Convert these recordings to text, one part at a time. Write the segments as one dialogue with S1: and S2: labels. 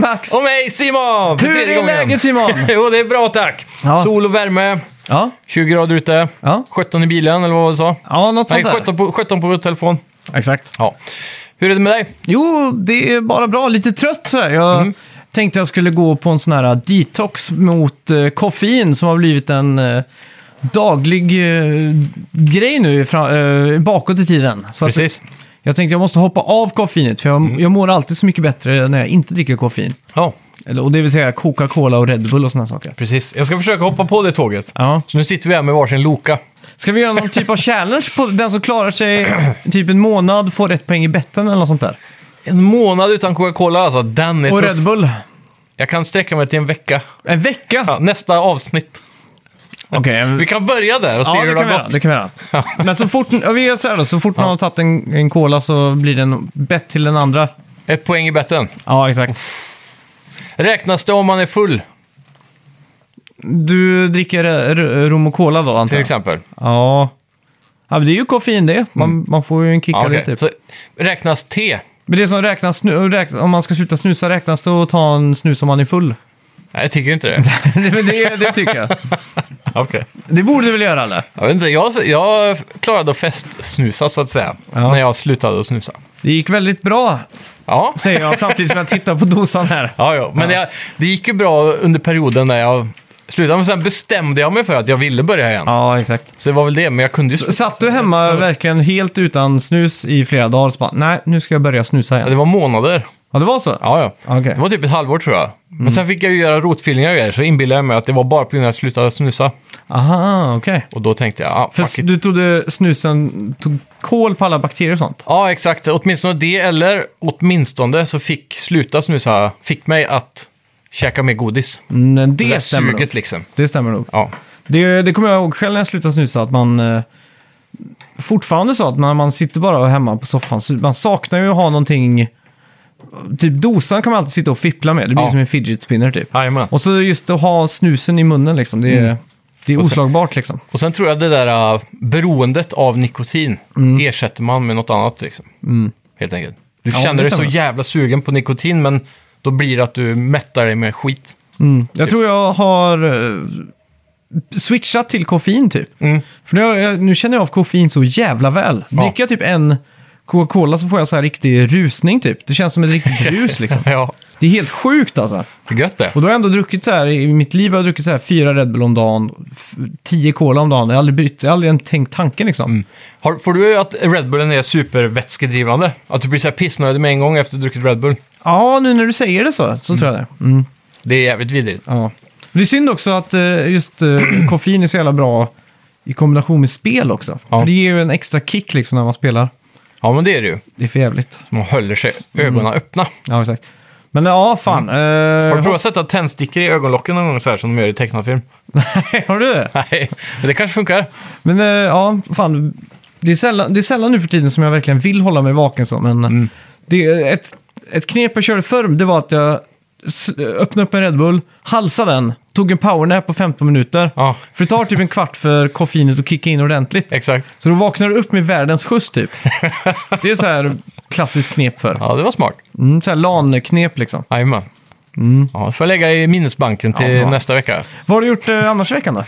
S1: Pax.
S2: Och mig Simon! för
S1: Hur
S2: tredje
S1: är
S2: gången.
S1: läget Simon?
S2: jo, det är bra tack.
S1: Ja.
S2: Sol och värme,
S1: Ja,
S2: 20 grader ute,
S1: ja,
S2: 17 i bilen eller vad du sa?
S1: ja något sånt
S2: Nej,
S1: där.
S2: 17 på, 17 på telefon.
S1: Exakt.
S2: Ja. Hur är det med dig?
S1: Jo, det är bara bra. Lite trött sådär. Jag
S2: Mhm.
S1: tänkte jag skulle gå på en sån här äh, detox mot eh, koffein som har blivit en eh, daglig eh, grej nu fra, eh, bakåt i tiden. Så att
S2: Precis. Mhm.
S1: jag tänkte jag måste hoppa av koffeinet för jag, jag mår alltid så mycket bättre när jag inte dricker koffein.
S2: Ja,
S1: Eller, och det vill säga Coca-Cola och Red Bull och sådana saker.
S2: precis. Jag ska försöka hoppa på det tåget.
S1: Ja.
S2: Så nu sitter vi här med varsin Loka.
S1: Ska vi göra någon typ av challenge på den som klarar sig typ en månad, får rätt poäng i betten eller något sånt där?
S2: En månad utan Coca-Cola alltså, den är
S1: Och
S2: tuff.
S1: Red Bull.
S2: Jag kan sträcka mig till en vecka.
S1: En vecka?
S2: Ja, nästa avsnitt.
S1: Okej. en-
S2: Vi kan börja där och se
S1: Ja, det
S2: hur
S1: kan,
S2: det
S1: vi
S2: har
S1: göra,
S2: gått.
S1: det kan vi göra. Men så fort, ja, vi gör så här då, så fort man har tagit en, en cola så blir det en bett till den andra.
S2: Ett poäng i betten.
S1: Ja, exakt.
S2: Räknas det om man är full,
S1: Du dricker eh, r- rom och cola då, antar
S2: till
S1: jag?
S2: exempel?
S1: Ja. ja, men det är ju koffein det. Man, man får ju en kick
S2: Ja,
S1: av det
S2: okej.
S1: typ.
S2: Så räknas te?
S1: Men det som räknas, snu, räknas, om man ska sluta snusa, räknas det att ta en snus om man är full?
S2: Nej, jag tycker inte det.
S1: det, men det, det tycker jag.
S2: okay.
S1: Det borde du väl göra, eller?
S2: jag, vet inte, jag, jag klarade att festsnusa, så att säga,
S1: Ja.
S2: när jag slutade att snusa.
S1: Det gick väldigt bra,
S2: Ja,
S1: säger jag samtidigt som jag tittar på dosan här.
S2: ja, ja. men Jag, det gick ju bra under perioden när jag slutade, men sen bestämde jag mig för att jag ville börja igen.
S1: Ja, exakt.
S2: Så det var väl det, men jag kunde ju...
S1: S- Satt du hemma verkligen helt utan snus i flera dagar och så bara, nej, nu ska jag börja snusa
S2: Ja,
S1: igen.
S2: det var månader.
S1: Ja, det var så?
S2: Ja, ja.
S1: Okej. Mm.
S2: Det var typ ett halvår tror jag. Men sen fick jag ju göra rotfyllningar och grejer, så inbillade jag mig att det var bara på grund av att jag slutade snusa.
S1: Aha, okej.
S2: Och då tänkte jag, ah,
S1: För
S2: fuck it.
S1: du trodde snusen tog koll på alla bakterier och sånt?
S2: Ja, exakt. Åtminstone det, eller åtminstone så fick sluta snusa, fick mig att käka mer godis.
S1: Mm, det,
S2: Det, där
S1: stämmer
S2: suget
S1: nog.
S2: liksom.
S1: Det stämmer nog.
S2: Ja.
S1: Det, det kommer jag ihåg själv när jag slutade snusa, att man eh, fortfarande så att när man sitter bara hemma på soffan, så man saknar ju att ha någonting, typ dosan kan man alltid sitta och fippla med, det blir
S2: Ja.
S1: som en fidget spinner typ.
S2: Jajamän. Mm.
S1: Och så just att ha snusen i munnen liksom, det är, det är
S2: Och sen-
S1: oslagbart liksom.
S2: Och sen tror jag det där äh, beroendet av nikotin ersätter man med något annat liksom. Helt enkelt. Du
S1: Mm. Ja,
S2: känner
S1: det
S2: dig så
S1: stämmer.
S2: jävla sugen på nikotin, men då blir det att du mättar dig med skit.
S1: Mm. Jag
S2: Typ.
S1: tror jag har eh, switchat till koffein typ.
S2: Mm.
S1: För nu, har jag, nu känner jag av koffein så jävla väl.
S2: Ja.
S1: Dricker jag typ en Coca-Cola så får jag så här riktig rusning typ. Det känns som ett riktigt rus liksom.
S2: Ja,
S1: Det är helt sjukt alltså.
S2: det är gött det.
S1: Och då har jag ändå druckit så här, i mitt liv har jag druckit så här fyra Red Bull om dagen, f- tio Cola om dagen. Jag har aldrig bytt, jag har aldrig ens tänkt tanken liksom.
S2: Mm. Har, får du att Red Bullen är supervätskedrivande? Att du blir så här pissnödig med en gång efter att du druckit Red Bull?
S1: Ja, nu när du säger det så, så tror jag det. Mm.
S2: Det är jävligt vidrigt.
S1: Ja. Men det är synd också att eh, just eh, koffein är så jävla bra i kombination med spel också.
S2: Ja.
S1: För det ger ju en extra kick liksom när man spelar.
S2: Ja, men det är det ju.
S1: Det är för jävligt.
S2: Man håller sig ögonen
S1: Mm.
S2: öppna.
S1: Ja, exakt. Men ja, fan. eh,
S2: Mm. Har du provat att sätta tändstickor i ögonlocken någon gång så här som de gör i tecknad film?
S1: har du det?
S2: Nej, men det kanske funkar.
S1: Men eh, ja, fan. Det är, sällan, det är sällan nu för tiden som jag verkligen vill hålla mig vaken så, men
S2: Mm.
S1: det, är ett, ett knep jag körde förr, det var att jag s- öppnade upp en Red Bull, halsade den, tog en powernap på 15 minuter.
S2: Ja,
S1: För det tar typ en kvart för koffeinet att kicka in ordentligt.
S2: exakt.
S1: Så då vaknar du upp med världens skjuts typ. Det är så här klassiskt knep för.
S2: Ja, det var smart.
S1: Mm, så här LAN-knep liksom.
S2: Jajamän. Ja, det får jag lägga i minnesbanken till
S1: Mm. Ja, bra.
S2: nästa vecka.
S1: Vad har du gjort eh, annars i veckan då?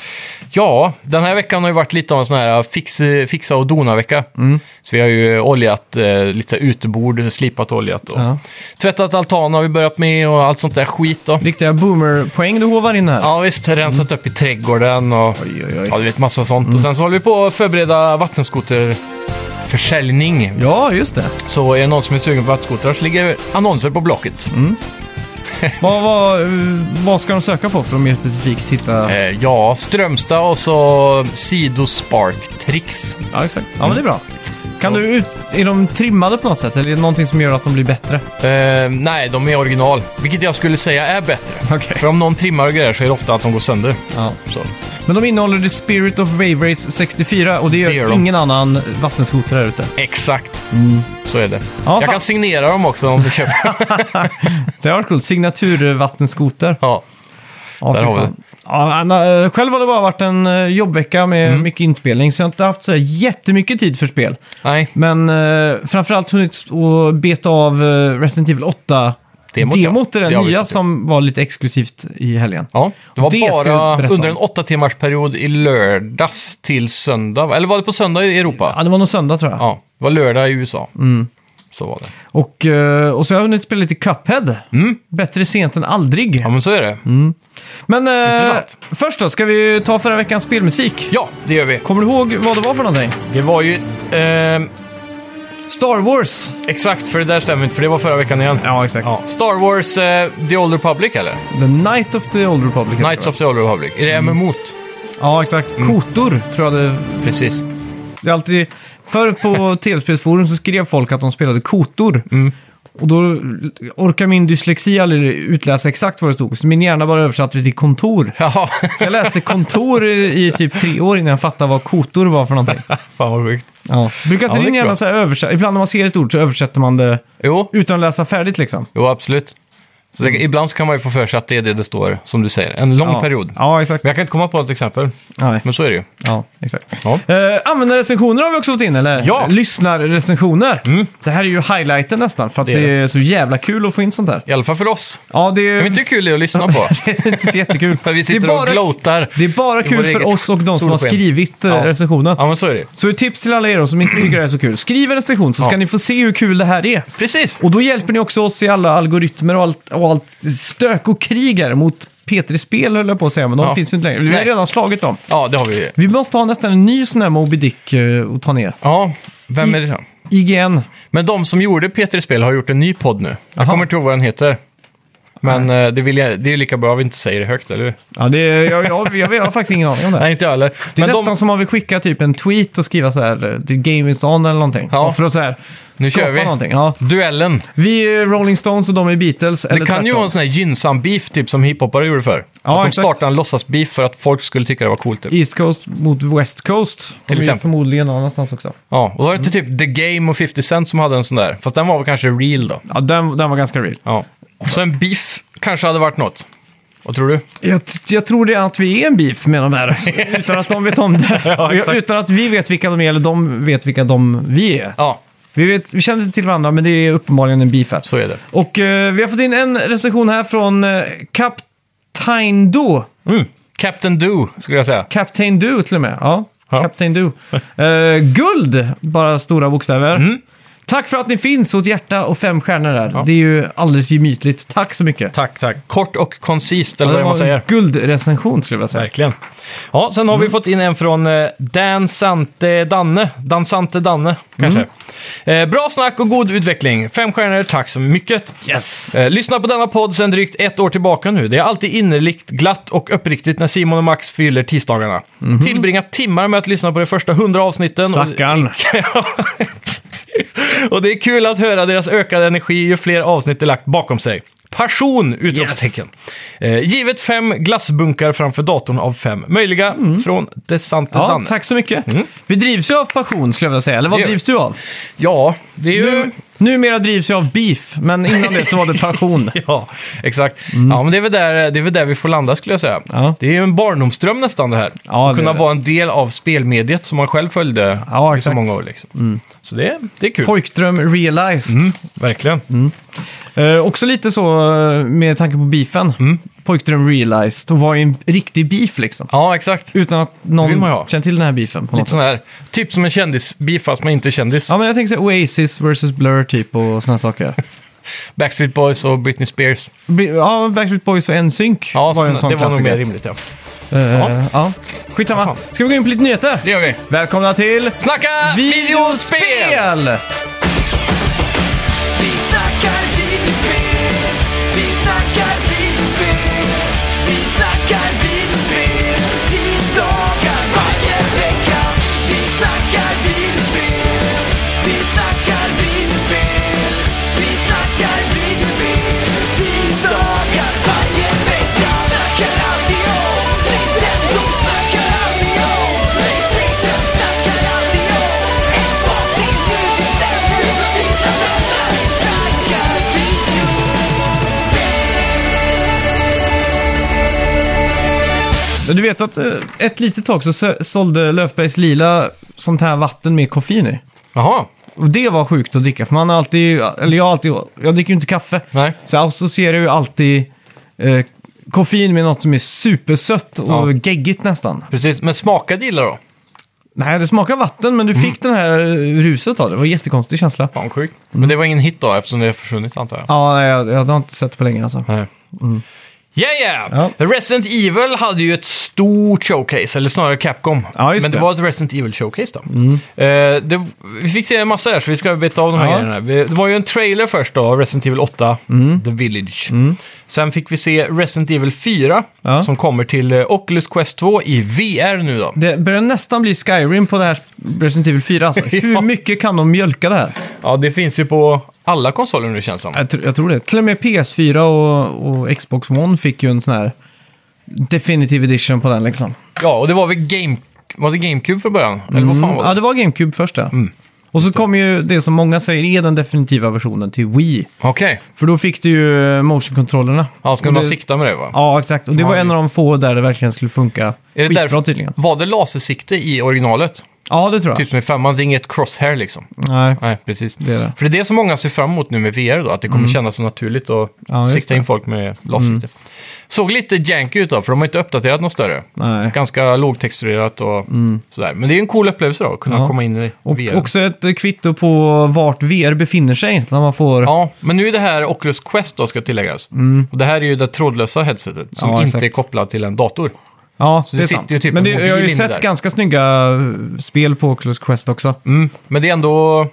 S2: Ja, den här veckan har ju varit lite av en sån här fix, fixa och dona-vecka.
S1: Mm.
S2: Så vi har ju oljat eh, lite utebord, slipat och oljat och
S1: Ja.
S2: tvättat altanen har vi börjat med och allt sånt där skit då.
S1: Riktiga boomer-poäng du hovar in här.
S2: Ja visst, rensat
S1: Mm.
S2: upp i trädgården och
S1: Oj, oj, oj.
S2: ja, du vet massa sånt.
S1: Mm.
S2: Och sen så håller vi på att förbereda vattenskoterförsäljning.
S1: Ja, just det.
S2: Så är det någon som är sugen på vattenskotrar så ligger annonser på Blocket.
S1: Mm. Vad, vad, eh, vad ska de söka på för att mer specifikt hitta...
S2: Eh, ja, Strömstad och så Sidospark Tricks.
S1: Ja, exakt. Ja, men det är bra. Kan du ut... Är de trimmade på något sätt eller är det någonting som gör att de blir bättre?
S2: Eh, nej, de är original. Vilket jag skulle säga är bättre.
S1: Okej.
S2: För om någon trimmar och grejer så är det ofta att de går sönder.
S1: Ja.
S2: Så.
S1: Men de innehåller The Spirit of Wave Race 64 och det gör,
S2: Det gör de.
S1: ingen annan vattenskoter här ute.
S2: Exakt, så är det.
S1: Mm. Ja,
S2: jag
S1: fan.
S2: kan signera dem också om du köper.
S1: Det har varit coolt. Signaturvattenskoter.
S2: ja.
S1: Ja,
S2: Där
S1: fy
S2: har vi
S1: fan. Ja, Anna, eh, själv har det bara varit en eh, jobbvecka med
S2: Mm.
S1: mycket inspelning, så jag har inte haft så här jättemycket tid för spel.
S2: Nej,
S1: Men eh, framförallt hunnit att beta av eh, Resident Evil 8
S2: Demot, ja.
S1: Demot är
S2: Det har
S1: den
S2: vi
S1: nya
S2: fått se.
S1: som var lite exklusivt i helgen.
S2: Ja, det var
S1: Det ska du
S2: bara
S1: berätta
S2: under en
S1: om.
S2: åtta timmars period i lördags till söndag. va? Eller var det på söndag i Europa?
S1: Ja, Mm. det var nog söndag tror jag.
S2: Ja, det var lördag i USA. Så var det.
S1: Och, eh, och så har jag hunnit spela lite Cuphead. Bättre sent än aldrig.
S2: Mm. Ja, men så är det.
S1: Mm. Men eh,
S2: Intressant.
S1: först då, ska vi ta förra veckans spelmusik?
S2: Ja, det gör vi.
S1: Kommer du ihåg vad det var för någonting?
S2: Det var ju... ehm,
S1: Star Wars!
S2: exakt, för det där stämmer inte, för det var förra veckan igen.
S1: Ja, exakt.
S2: Ja. Star Wars eh, The Old Republic, eller?
S1: The Night of the Old Republic. heter
S2: Knights
S1: det,
S2: of Mm. the Old Republic. Är det Mm. MMOt?
S1: va? Ja, exakt. Kotor tror jag det...
S2: Precis.
S1: det är alltid... Förr på tv-spelsforum så skrev folk att de spelade kotor.
S2: Mm.
S1: Och då orkar min dyslexi aldrig utläsa exakt vad det stod. Så min hjärna bara översatte det till kontor.
S2: Jaha,
S1: Så jag läste kontor i, i typ tre år innan jag fattade vad kotor var för någonting.
S2: fan vad sjukt.
S1: Ja. Brukar
S2: Ja,
S1: inte
S2: det är
S1: din hjärna
S2: bra.
S1: så här översätta? Ibland när man ser ett ord så översätter man det
S2: Jo,
S1: utan att läsa färdigt liksom.
S2: jo absolut. Så det, Ibland så kan man ju få för sig att det är det det står, som du säger. En lång
S1: ja.
S2: period.
S1: Ja, exakt.
S2: Men jag kan inte komma på något exempel.
S1: Nej.
S2: Men så är det ju.
S1: Ja, exakt.
S2: Ja.
S1: Eh, användarrecensioner har vi också fått in, eller?
S2: Ja. Mm.
S1: Lyssnarrecensioner. Det här är ju highlighten nästan, för att det
S2: Det
S1: är,
S2: är
S1: så jävla kul att få in sånt här.
S2: I alla fall för oss.
S1: Ja, det är,
S2: Jag vet inte hur kul det är att lyssna på.
S1: det är inte så jättekul.
S2: Men vi sitter
S1: det är bara,
S2: och gloatar.
S1: Det är bara
S2: i vår
S1: kul för
S2: eget
S1: oss och de som har
S2: solsken.
S1: skrivit eh,
S2: Ja.
S1: recensionen.
S2: Ja, men så är det.
S1: Så ett tips till alla er som inte tycker det här är så kul. Skriv en recension så ska
S2: Ja.
S1: ni få se hur kul det här är.
S2: Precis!
S1: Och då hjälper ni också oss i alla algoritmer och allt, och allt stök och krig här mot P3 Spel höll jag på att säga, men de
S2: Ja.
S1: finns ju inte längre. Vi har
S2: Nej.
S1: redan slagit dem.
S2: Ja, det har vi ju.
S1: Vi måste ha nästan en ny sån här Moby Dick eh, att ta ner.
S2: Ja, vem är det då?
S1: IGN.
S2: Men de som gjorde Peter i Spel har gjort en ny podd nu. Jag
S1: Aha.
S2: kommer inte ihåg vad den heter. Men eh, det, vill jag, det är ju lika bra att vi inte säger det högt, eller hur?
S1: Ja, det, jag, jag, jag, jag har faktiskt ingen aning om det.
S2: Nej, inte jag heller.
S1: det är
S2: Men
S1: nästan
S2: de,
S1: som om vi skickar typ en tweet och skriva så här, eh, the game is on eller någonting.
S2: Ja.
S1: Och För att så här,
S2: Nu
S1: skapa
S2: kör vi.
S1: någonting. Ja.
S2: duellen.
S1: Vi är Rolling Stones och de är Beatles.
S2: Det kan ju vara en sån här gynnsam beef, typ som hiphoppare gjorde förr.
S1: Ja,
S2: att de
S1: exakt.
S2: startade en låtsas-beef för att folk skulle tycka det var coolt. Typ.
S1: East Coast mot West Coast. De
S2: Till
S1: är ju
S2: exempel.
S1: förmodligen någon annanstans också.
S2: Ja, och då var det typ The Game och 50 Cent som hade en sån där. Fast den var väl kanske real då.
S1: Ja, den, den var ganska real.
S2: Ja. Så en beef kanske hade varit något. Vad tror du?
S1: Jag, t- jag tror det är att vi är en beef med de här. utan att de vet om det.
S2: Ja, exakt.
S1: utan att vi vet vilka de är, eller de vet vilka de vi är.
S2: Ja,
S1: Vi, vet, vi känner inte till varandra, men det är uppenbarligen en beef här.
S2: så är det.
S1: Och eh, vi har fått in en recension här från eh, Captain Do.
S2: Mm. Captain Do, skulle jag säga.
S1: Captain Do till och med. Ja,
S2: Ja.
S1: Captain Do. Eh, guld, bara stora bokstäver. Tack för att ni finns och ett hjärta och fem stjärnor där.
S2: Mm. Ja.
S1: Det är ju alldeles gemytligt. Tack så mycket.
S2: Tack, tack. Kort och koncist, eller
S1: Ja,
S2: vad man
S1: var en
S2: säger.
S1: Guldrecension skulle jag vilja säga.
S2: Verkligen. Ja, sen har vi fått in en från eh, Dan Sante Danne. Dan Sante Danne, kanske. Eh, bra snack och god utveckling. Fem stjärnor, tack så mycket.
S1: Yes!
S2: Eh, lyssna på denna podd sedan drygt ett år tillbaka nu. Det är alltid innerligt glatt och uppriktigt när Simon och Max fyller tisdagarna. Tillbringat timmar med att lyssna på de första hundra avsnitten. Och,
S1: Mhm. Stackarn.
S2: och det är kul att höra deras ökade energi ju fler avsnitt de lagt bakom sig. Passion! Utropstecken. Eh, givet fem glassbunkar framför datorn av fem möjliga från Desante
S1: Mm. Ja,
S2: Danne.
S1: tack så mycket. Vi drivs ju av passion skulle jag vilja säga. Eller vad
S2: Mm. Det gör vi.
S1: drivs du av?
S2: Ja, det är ju...
S1: Nu, numera drivs jag av beef, men innan det så var det passion.
S2: Ja, exakt. Ja, men det är, väl där, det är väl där vi får landa skulle jag säga.
S1: Mm. Ja.
S2: Det är ju en barndomsdröm nästan det här.
S1: Ja,
S2: Att
S1: det är
S2: kunna
S1: det.
S2: vara en del av spelmediet som man själv följde
S1: Ja,
S2: i så
S1: exakt. Mm.
S2: många år. Liksom. Så det, det är kul.
S1: Pojkdröm realized.
S2: Mm, verkligen.
S1: Eh, också lite så eh, med tanke på beefen.
S2: Mm.
S1: Pojkdröm realized och var ju en riktig beef liksom.
S2: Ja, exakt.
S1: Utan att
S2: vill man ju
S1: någon
S2: ha.
S1: känner till den här beefen. På något
S2: Lite
S1: sätt.
S2: sån här, typ som en kändisbeef fast man inte är kändis.
S1: Ja, men jag tänker så här, Oasis versus Blur typ och sådana saker.
S2: Backstreet Boys och Britney Spears.
S1: Be- Ja, Backstreet Boys och NSYNC
S2: Ja,
S1: var ju en
S2: så-
S1: sån
S2: det var nog
S1: klassiker.
S2: mer rimligt ja.
S1: Eh,
S2: Ja.
S1: ja. Skitsamma.
S2: Fan.
S1: Ska vi gå in på lite nyheter?
S2: Det gör vi.
S1: Välkomna till
S2: Snacka videospel!
S1: videospel!
S3: Vi snackar videospel, vi snackar videospel, vi snackar videospel, tisdagar varje vecka. Vi snackar videospel, vi snackar videospel, vi snackar videospel, tisdagar varje vecka. Snackar alltid om Nintendo, snackar alltid om Playstation, snackar alltid om Xbox, det är nu vi sänder, dina vänner, vi snackar video.
S1: Men Du vet att eh, ett litet tag så sö- sålde Löfbergs Lila sånt här vatten med koffein i.
S2: Jaha,
S1: Och det var sjukt att dricka, för man har alltid, eller jag har alltid, jag dricker ju inte kaffe.
S2: Nej.
S1: Så jag associerar ju alltid eh, koffein med något som är supersött och
S2: Ja.
S1: geggigt nästan.
S2: Precis, men smakade illa då?
S1: Nej, det smakar vatten, men du
S2: Mm.
S1: fick den här eh, ruset av det. Det var en jättekonstig känsla.
S2: Fan sjukt.
S1: Mm.
S2: Men det var ingen hit då, eftersom det har försvunnit antar jag.
S1: Ja, nej, jag, jag har inte sett det på länge alltså.
S2: Nej. Yeah, yeah!
S1: Ja.
S2: Resident Evil hade ju ett stort showcase, eller snarare Capcom.
S1: Ja, just
S2: Men det,
S1: det. Mm.
S2: var ett Resident Evil-showcase då. Eh, det, vi fick se en massa där, så vi ska beta av de här
S1: Ja.
S2: grejerna. Vi- Det var ju en trailer först då, Resident Evil 8,
S1: Mm.
S2: The Village. Sen fick vi se Resident Evil 4,
S1: Ja.
S2: som kommer till eh, Oculus Quest 2 i VR nu då.
S1: Det börjar nästan bli Skyrim på det här Resident Evil 4 alltså. Hur mycket kan de mjölka det här?
S2: Ja, det finns ju på alla konsoler nu känns det som.
S1: Jag, tr- jag tror det. Till och med PS4 och, och Xbox One fick ju en sån här Definitive Edition på den liksom.
S2: Ja, och det var väl Game... Var det GameCube från början? Eller vad fan
S1: Mm.
S2: var det? Mm.
S1: Ja, det var GameCube först ja. Och så kom ju det som många säger är den definitiva versionen till Wii.
S2: Okej.
S1: För då fick du ju motion-kontrollerna.
S2: Ja, ska
S1: Och
S2: man
S1: det-
S2: sikta med det va?
S1: Ja, exakt. Och det var en av de få där det verkligen skulle funka
S2: Är det
S1: skitbra
S2: därför-
S1: tydligen.
S2: Var det lasersikte i originalet?
S1: Ja, det tror jag.
S2: Typ som i femman, det är inget crosshair liksom.
S1: Nej.
S2: Nej, precis.
S1: Det är det. Mm.
S2: För det är det som många ser fram emot nu med VR då, att det kommer kännas så naturligt att
S1: Ja, just
S2: sikta
S1: det. Mm.
S2: in folk med lasersikte. Såg lite janky ut då, för de har inte uppdaterat något större.
S1: Nej. Mm.
S2: Ganska lågtexturerat och sådär. Men det är ju en cool upplevelse då, att kunna
S1: Ja.
S2: komma in i
S1: Och
S2: VR.
S1: också ett eh, kvitto på vart VR befinner sig. När man får...
S2: Ja, men nu är det här Oculus Quest då, ska tilläggas. Och det här är ju det trådlösa headsetet som
S1: Mm. Ja,
S2: inte
S1: exakt.
S2: är kopplat till en dator.
S1: Ja,
S2: det
S1: det är
S2: sitter
S1: sant.
S2: ju typ
S1: Men
S2: en
S1: det, jag har
S2: mobil
S1: ju
S2: inne
S1: sett
S2: där.
S1: ganska snygga eh, spel på Oculus Quest också.
S2: Mm, men det är ändå...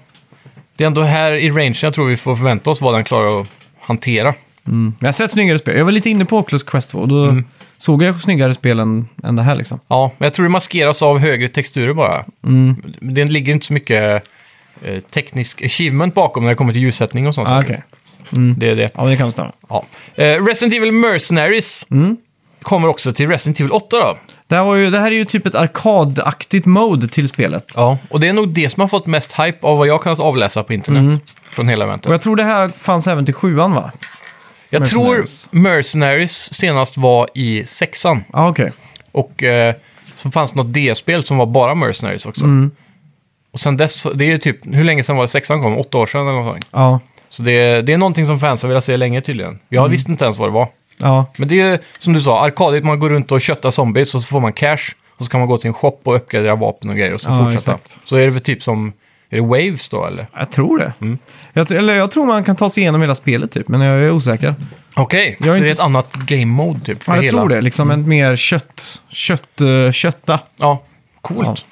S2: Det är ändå här i rangen jag tror vi får förvänta oss vad den klarar att hantera.
S1: Men jag har sett snyggare spel. Jag var lite inne på Oculus Quest 2 och då
S2: Mm.
S1: såg jag snyggare spel än, än det här liksom.
S2: Ja, men jag tror det maskeras av högre texturer bara.
S1: Mm.
S2: Det ligger inte så mycket eh, teknisk achievement bakom när det kommer till ljussättning och sånt.
S1: Ah,
S2: saker.
S1: okej.
S2: Det är det.
S1: Ja, det kan stämma.
S2: Ja. Eh, Resident Evil Mercenaries
S1: Mm.
S2: kommer också till Resident Evil 8 då.
S1: Det här, var ju, det här är ju typ ett arkadaktigt mode till spelet.
S2: Ja. Och det är nog det som har fått mest hype av vad jag kunnat avläsa på internet
S1: Mm.
S2: från hela eventet.
S1: Och jag tror det här fanns även till sjuan va?
S2: Jag tror
S1: Mercenaries.
S2: Mercenaries senast var i sexan.
S1: Ja, ah, okej.
S2: Och eh, så fanns något D-spel som var bara Mercenaries också.
S1: Mm.
S2: Och sen dess, det är ju typ, hur länge sedan var det sexan kom? Åtta år sedan eller någonting.
S1: Ja.
S2: Så det, det är någonting som fans har velat se länge tydligen. Jag
S1: Mm.
S2: visste inte ens vad det var.
S1: Ja.
S2: Men det är ju, som du sa, arkadigt. Man går runt och köttar zombies och så får man cash. Och så kan man gå till en shop och uppgradera vapen och grejer och så
S1: Ja,
S2: fortsätta.
S1: exakt.
S2: Så är det väl typ som, är det Waves då eller?
S1: Jag tror det. Jag, tr- eller jag tror man kan ta sig igenom hela spelet typ, men jag är osäker.
S2: Okej,
S1: är
S2: så det
S1: inte-
S2: är ett annat game mode typ? för
S1: Ja, jag
S2: hela-
S1: tror det. Liksom en mer kött, kött, eh, kötta.
S2: Ja, coolt.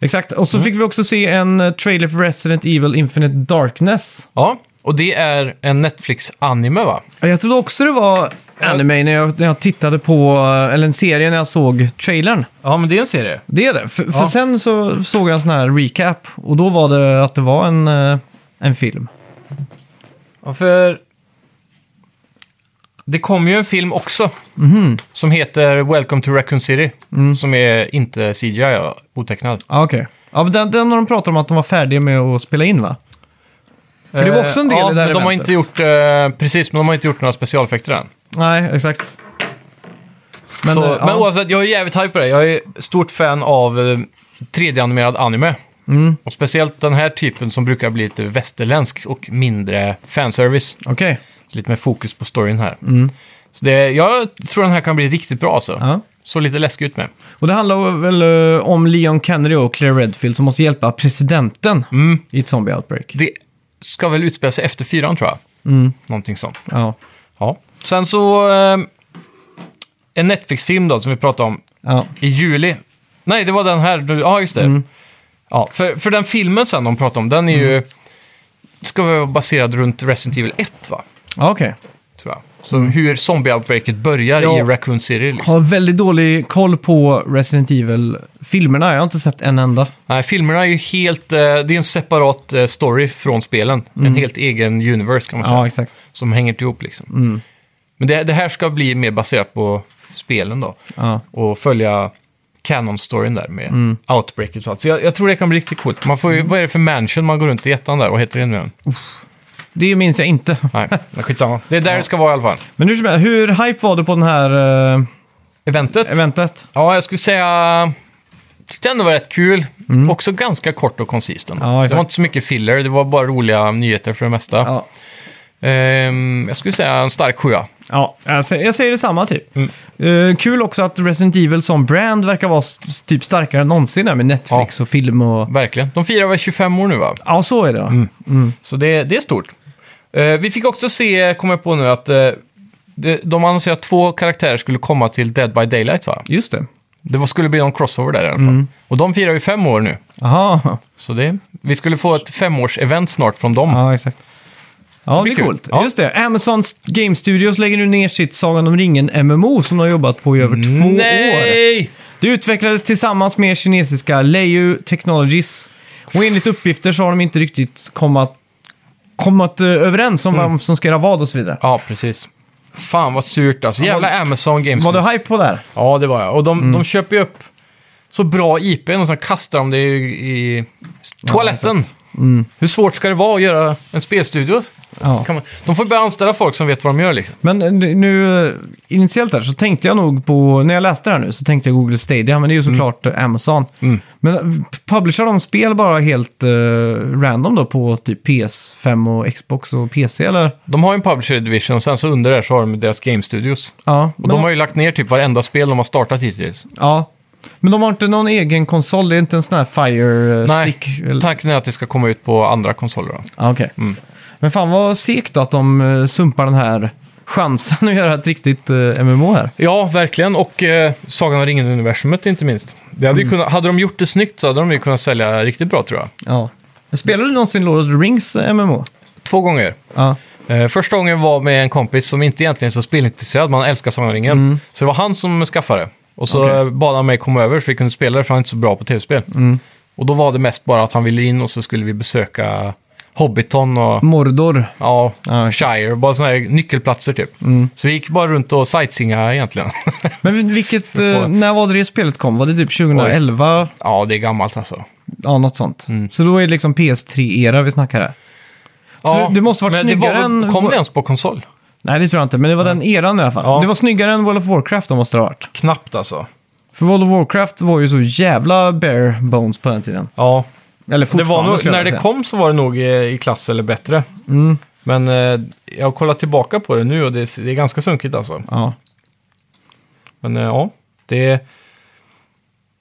S1: Exakt. Och så fick vi också se en eh, trailer för Resident Evil Infinite Darkness.
S2: Ja, och det är en Netflix-anime va?
S1: Ja, Jag trodde också det var anime när jag, när jag tittade på, eh, eller en serie när jag såg trailern.
S2: Ja, men det är en serie.
S1: Det är det. För, för
S2: Ja.
S1: sen så såg jag en sån här recap och då var det att det var en, eh, en film.
S2: Ja, för... Det kom ju en film också.
S1: Mhm.
S2: Som heter Welcome to Raccoon City.
S1: Mm.
S2: Som är inte CGI, ja, otecknad.
S1: Ja, okej. Ja, men den, den har de pratat om att de var färdiga med att spela in va? För det var också en del
S2: Eh,
S1: i det här
S2: men de har
S1: eventet.
S2: inte gjort, eh, Precis, men de har inte gjort några specialeffekter än.
S1: Nej, exakt. Men,
S2: så,
S1: eh,
S2: men
S1: ja.
S2: oavsett, jag är jävligt hype på det. Jag är stort fan av eh, 3D-animerad anime.
S1: Mm.
S2: Och speciellt den här typen som brukar bli lite västerländsk och mindre fanservice.
S1: Okej.
S2: Så lite mer fokus på storyn här. Så det, jag tror den här kan bli riktigt bra alltså.
S1: Mm. Ja.
S2: Så lite läskig ut med.
S1: Och det handlar väl eh, om Leon Kennedy och Claire Redfield som måste hjälpa presidenten
S2: Mm.
S1: i ett zombie-outbreak.
S2: Det ska väl utspela sig efter fyran tror jag.
S1: Mm.
S2: Någonting sånt.
S1: Ja.
S2: Ja. Sen så... Eh, en Netflix-film då som vi pratade om
S1: ja.
S2: i juli. Nej, det var den här. du- Ja, just det.
S1: Mm.
S2: Ja, för, för den filmen sen de pratade om, den är ju...
S1: Mm.
S2: Ska vara baserad runt Resident Evil 1 va?
S1: Ja, Okej.
S2: Tror jag. Så hur zombie-outbreaket börjar
S1: Mm. Ja.
S2: i Raccoon City liksom.
S1: Har väldigt dålig koll på Resident Evil-filmerna. Jag har inte sett en enda.
S2: Nej, filmerna är ju helt... eh, Det är en separat eh, story från spelen. En helt egen universe kan man säga.
S1: Mm. Ja, exakt.
S2: Som hänger inte ihop liksom.
S1: Mm.
S2: Men det, det här ska bli mer baserat på spelen då.
S1: Ja.
S2: Och följa canon-storyn där med
S1: Mm.
S2: outbreaket och allt. Så jag, jag tror det kan bli riktigt coolt. Man får ju, Vad är det för mansion man går runt i ettan där? Vad heter det nu?
S1: Det minns jag inte.
S2: Nej, men skitsamma. Det är där det ska vara i alla fall.
S1: Men hur, som helst, hur hype var du på det här eh,
S2: Eventet?
S1: eventet?
S2: Ja, jag skulle säga tyckte ändå var rätt kul. Också ganska kort och koncist. ändå.
S1: Mm. Ja,
S2: det
S1: exakt.
S2: var inte så mycket filler, det var bara roliga nyheter för det mesta.
S1: Ja.
S2: Ehm, jag skulle säga en stark sjua.
S1: Ja, jag säger, jag säger detsamma typ.
S2: Mm.
S1: Eh, kul också att Resident Evil som brand verkar vara s- typ starkare än någonsin där med Netflix och film och...
S2: Verkligen. De firar väl 25 år nu va?
S1: Ja, så är det. va?
S2: Mm. Så det, det är stort. Eh, vi fick också se, kommer jag på nu, att eh, det, de annonserade att två karaktärer skulle komma till Dead by Daylight va?
S1: Just det.
S2: Det var, skulle bli någon crossover där i alla fall.
S1: Mm.
S2: Och de firar ju fem år nu.
S1: Aha.
S2: Så det, vi skulle få ett femårs-event snart från dem.
S1: ja exakt. Ja, det
S2: blir
S1: är
S2: kul.
S1: coolt.
S2: Ja.
S1: Just det, Amazon Game Studios lägger nu ner sitt Sagan om ringen MMO som de har jobbat på i över två år.
S2: Mm. Nej!
S1: Det utvecklades tillsammans med kinesiska Leiyu Technologies. Och enligt uppgifter så har de inte riktigt kommit, kommit eh, överens om
S2: Mm.
S1: vem som ska göra vad och så vidare.
S2: Ja, precis. Fan vad surt alltså. Jävla Amazon Games.
S1: Var du hype Mm. på det här?
S2: Ja, det var jag. Och de, de köper ju upp så bra IP och så kastar de det i, i toaletten.
S1: Mm.
S2: Hur svårt ska det vara att göra en spelstudio?
S1: Ja.
S2: Kan man, de får börja anställa folk som vet vad de gör liksom.
S1: Men eh, nu eh, initiellt där så tänkte jag nog på, när jag läste det här nu så tänkte jag Google Stadia, men det är ju såklart
S2: Mm.
S1: eh, Amazon. Men eh, publicerar de spel bara helt eh, random då på typ PS5 och Xbox och PC eller?
S2: De har ju en publisher division och sen så under där så har de deras game studios.
S1: Ja,
S2: Och
S1: men,
S2: de har ju lagt ner typ varenda spel de har startat hittills.
S1: ja. men de har inte någon egen konsol, det är inte en sån här Fire eh, Stick?
S2: Nej,
S1: eller-
S2: tanken är att det ska komma ut på andra konsoler då.
S1: Ja, okej.
S2: Mm.
S1: Men fan vad segt då att de eh, sumpar den här chansen att göra ett riktigt eh, MMO här.
S2: Ja, verkligen. Och eh, Sagan om ringen-universumet inte minst. Det hade, ju kunnat, hade de gjort det snyggt så hade de ju kunnat sälja riktigt bra tror jag.
S1: Ja. Spelar du någonsin Lord of the Rings eh, MMO?
S2: Två gånger.
S1: Ja.
S2: Eh, första gången var med en kompis som inte egentligen är så spelintresserad, men han älskar Sagan om ringen. Så det var han som skaffade det. Och så
S1: Mm. Okej. Mm.
S2: eh, bad han mig komma över så vi kunde spela det, för han är inte så bra på tv-spel. Och då var det mest bara att han ville in och så skulle vi besöka Hobbiton och
S1: Mm. Mordor.
S2: ja,
S1: Ja,
S2: Shire, bara sådana här nyckelplatser typ.
S1: Mm.
S2: Så vi gick bara runt och sightseeinga egentligen.
S1: Men vilket,
S2: Vi får-
S1: eh, när var det det spelet kom? Var det typ 2011?
S2: ja, det är gammalt alltså.
S1: Ja, något sånt.
S2: Mm.
S1: Så då är det liksom PS3-era vi snackar här. Så det måste varit
S2: men det
S1: snyggare
S2: var,
S1: än-
S2: Kom det ens på konsol?
S1: Nej, det tror jag inte, men det var den eran i alla fall.
S2: Ja.
S1: Det var snyggare än World of Warcraft, då måste det ha varit.
S2: Knappt alltså.
S1: För World of Warcraft var ju så jävla bare bones på den tiden.
S2: Ja,
S1: Eller
S2: det var
S1: fortfarande
S2: nog,
S1: skulle jag
S2: när det
S1: säga. Mm.
S2: kom så var det nog eh, i klass eller bättre. Men eh, jag har kollat tillbaka på det nu och det, är- det är ganska sunkigt alltså.
S1: Ja.
S2: Men eh, ja, det,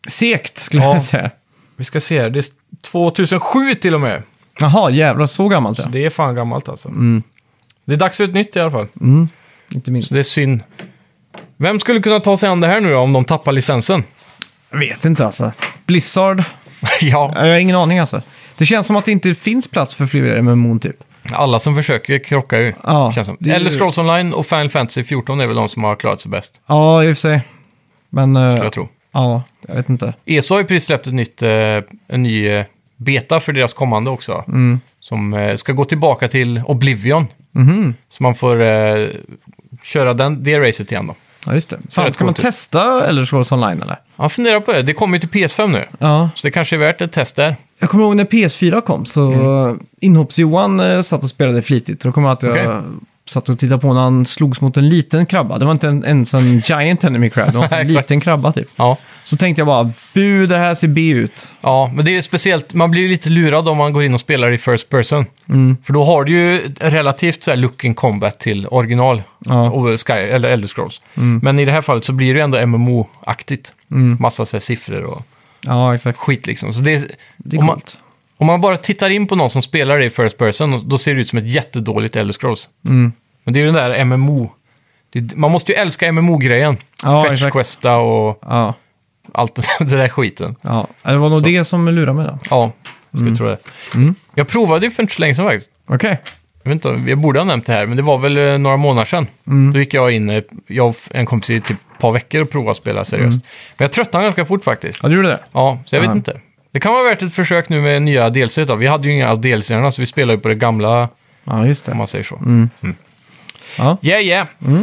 S1: Segt skulle
S2: Ja.
S1: jag säga.
S2: vi ska se här. Det är 2007 till och med.
S1: Jaha, jävlar så gammalt
S2: Så
S1: ja. Mm.
S2: det är fan gammalt alltså. Det är dags för ett nytt i alla fall.
S1: Inte minst.
S2: Så det är synd. Vem skulle kunna ta sig an det här nu då, om de tappar licensen?
S1: Jag vet inte alltså. Blizzard?
S2: ja,
S1: Jag har ingen aning alltså. Det känns som att det inte finns plats för fler MMO typ.
S2: alla som försöker krockar ju.
S1: Ja,
S2: känns som.
S1: det är ju-
S2: Eller Scrolls Online och Final Fantasy 14 är väl de som har klarat sig bäst,
S1: Ja, i och för sig. Men... eh,
S2: skulle jag tro.
S1: Ja, jag vet inte.
S2: ESA E har ju precis släppt ett nytt, eh, en ny eh, beta för deras kommande också. Som eh, ska gå tillbaka till Oblivion.
S1: Mhm.
S2: Så man får eh, köra den, det racet igen då.
S1: Ja, just det. Fan,
S2: rätt
S1: ska man
S2: coolt ut.
S1: testa Elder Scrolls Online eller?
S2: Ja, fundera på det. Det kommer ju till PS5 nu.
S1: Ja.
S2: Så det kanske är värt ett test där.
S1: Jag kommer ihåg när PS4 kom så inhopps-Johan eh, satt och spelade flitigt. Då kommer jag att jag
S2: Okej.
S1: satt och tittade på när han slogs mot en liten krabba. Det var inte en, ens en giant enemy crab, det var en sån
S2: Nej, exakt.
S1: liten krabba typ.
S2: Ja.
S1: Så tänkte jag bara, bu det här ser B ut.
S2: ja, men det är ju speciellt. Man blir ju lite lurad om man går in och spelar i First Person. För då har du ju relativt så här looking combat till original.
S1: Ja.
S2: Och Sky, eller Elder Scrolls. Men i det här fallet så blir det ju ändå MMO-aktigt. Massa så här siffror och...
S1: Ja, exakt.
S2: skit liksom. Så det,
S1: Det är
S2: om, man,
S1: coolt.
S2: om man bara tittar in på någon som spelar det i First Person, då ser det ut som ett jättedåligt Elder Scrolls.
S1: Mm.
S2: Men det är ju den där MMO. Det, man måste ju älska MMO-grejen.
S1: Ja,
S2: Fetch
S1: exakt.
S2: Questa och
S1: Ja,
S2: allt den där skiten.
S1: ja. det var nog det som lurade mig då.
S2: Ja, jag
S1: Mm.
S2: skulle tro det. Jag provade ju för inte så länge sedan faktiskt.
S1: Okej.
S2: Jag, vet inte, om- jag borde ha nämnt det här, men det var väl eh, några månader sedan.
S1: Mm.
S2: Då gick jag in, eh, jag och en kompis i typ ett par veckor och provade att spela seriöst.
S1: Mm.
S2: Men jag tröttnade ganska fort faktiskt.
S1: Ja, du gjorde det?
S2: Ja, så jag vet
S1: Ja.
S2: inte. Det kan vara värt ett försök nu med nya DLC då. Vi hade ju inga av DLC erna, så vi spelade ju på det gamla,
S1: Ja, just
S2: om
S1: det.
S2: man säger så.
S1: Mm.
S2: Mm.
S1: Ja. Mm.
S2: Yeah, yeah.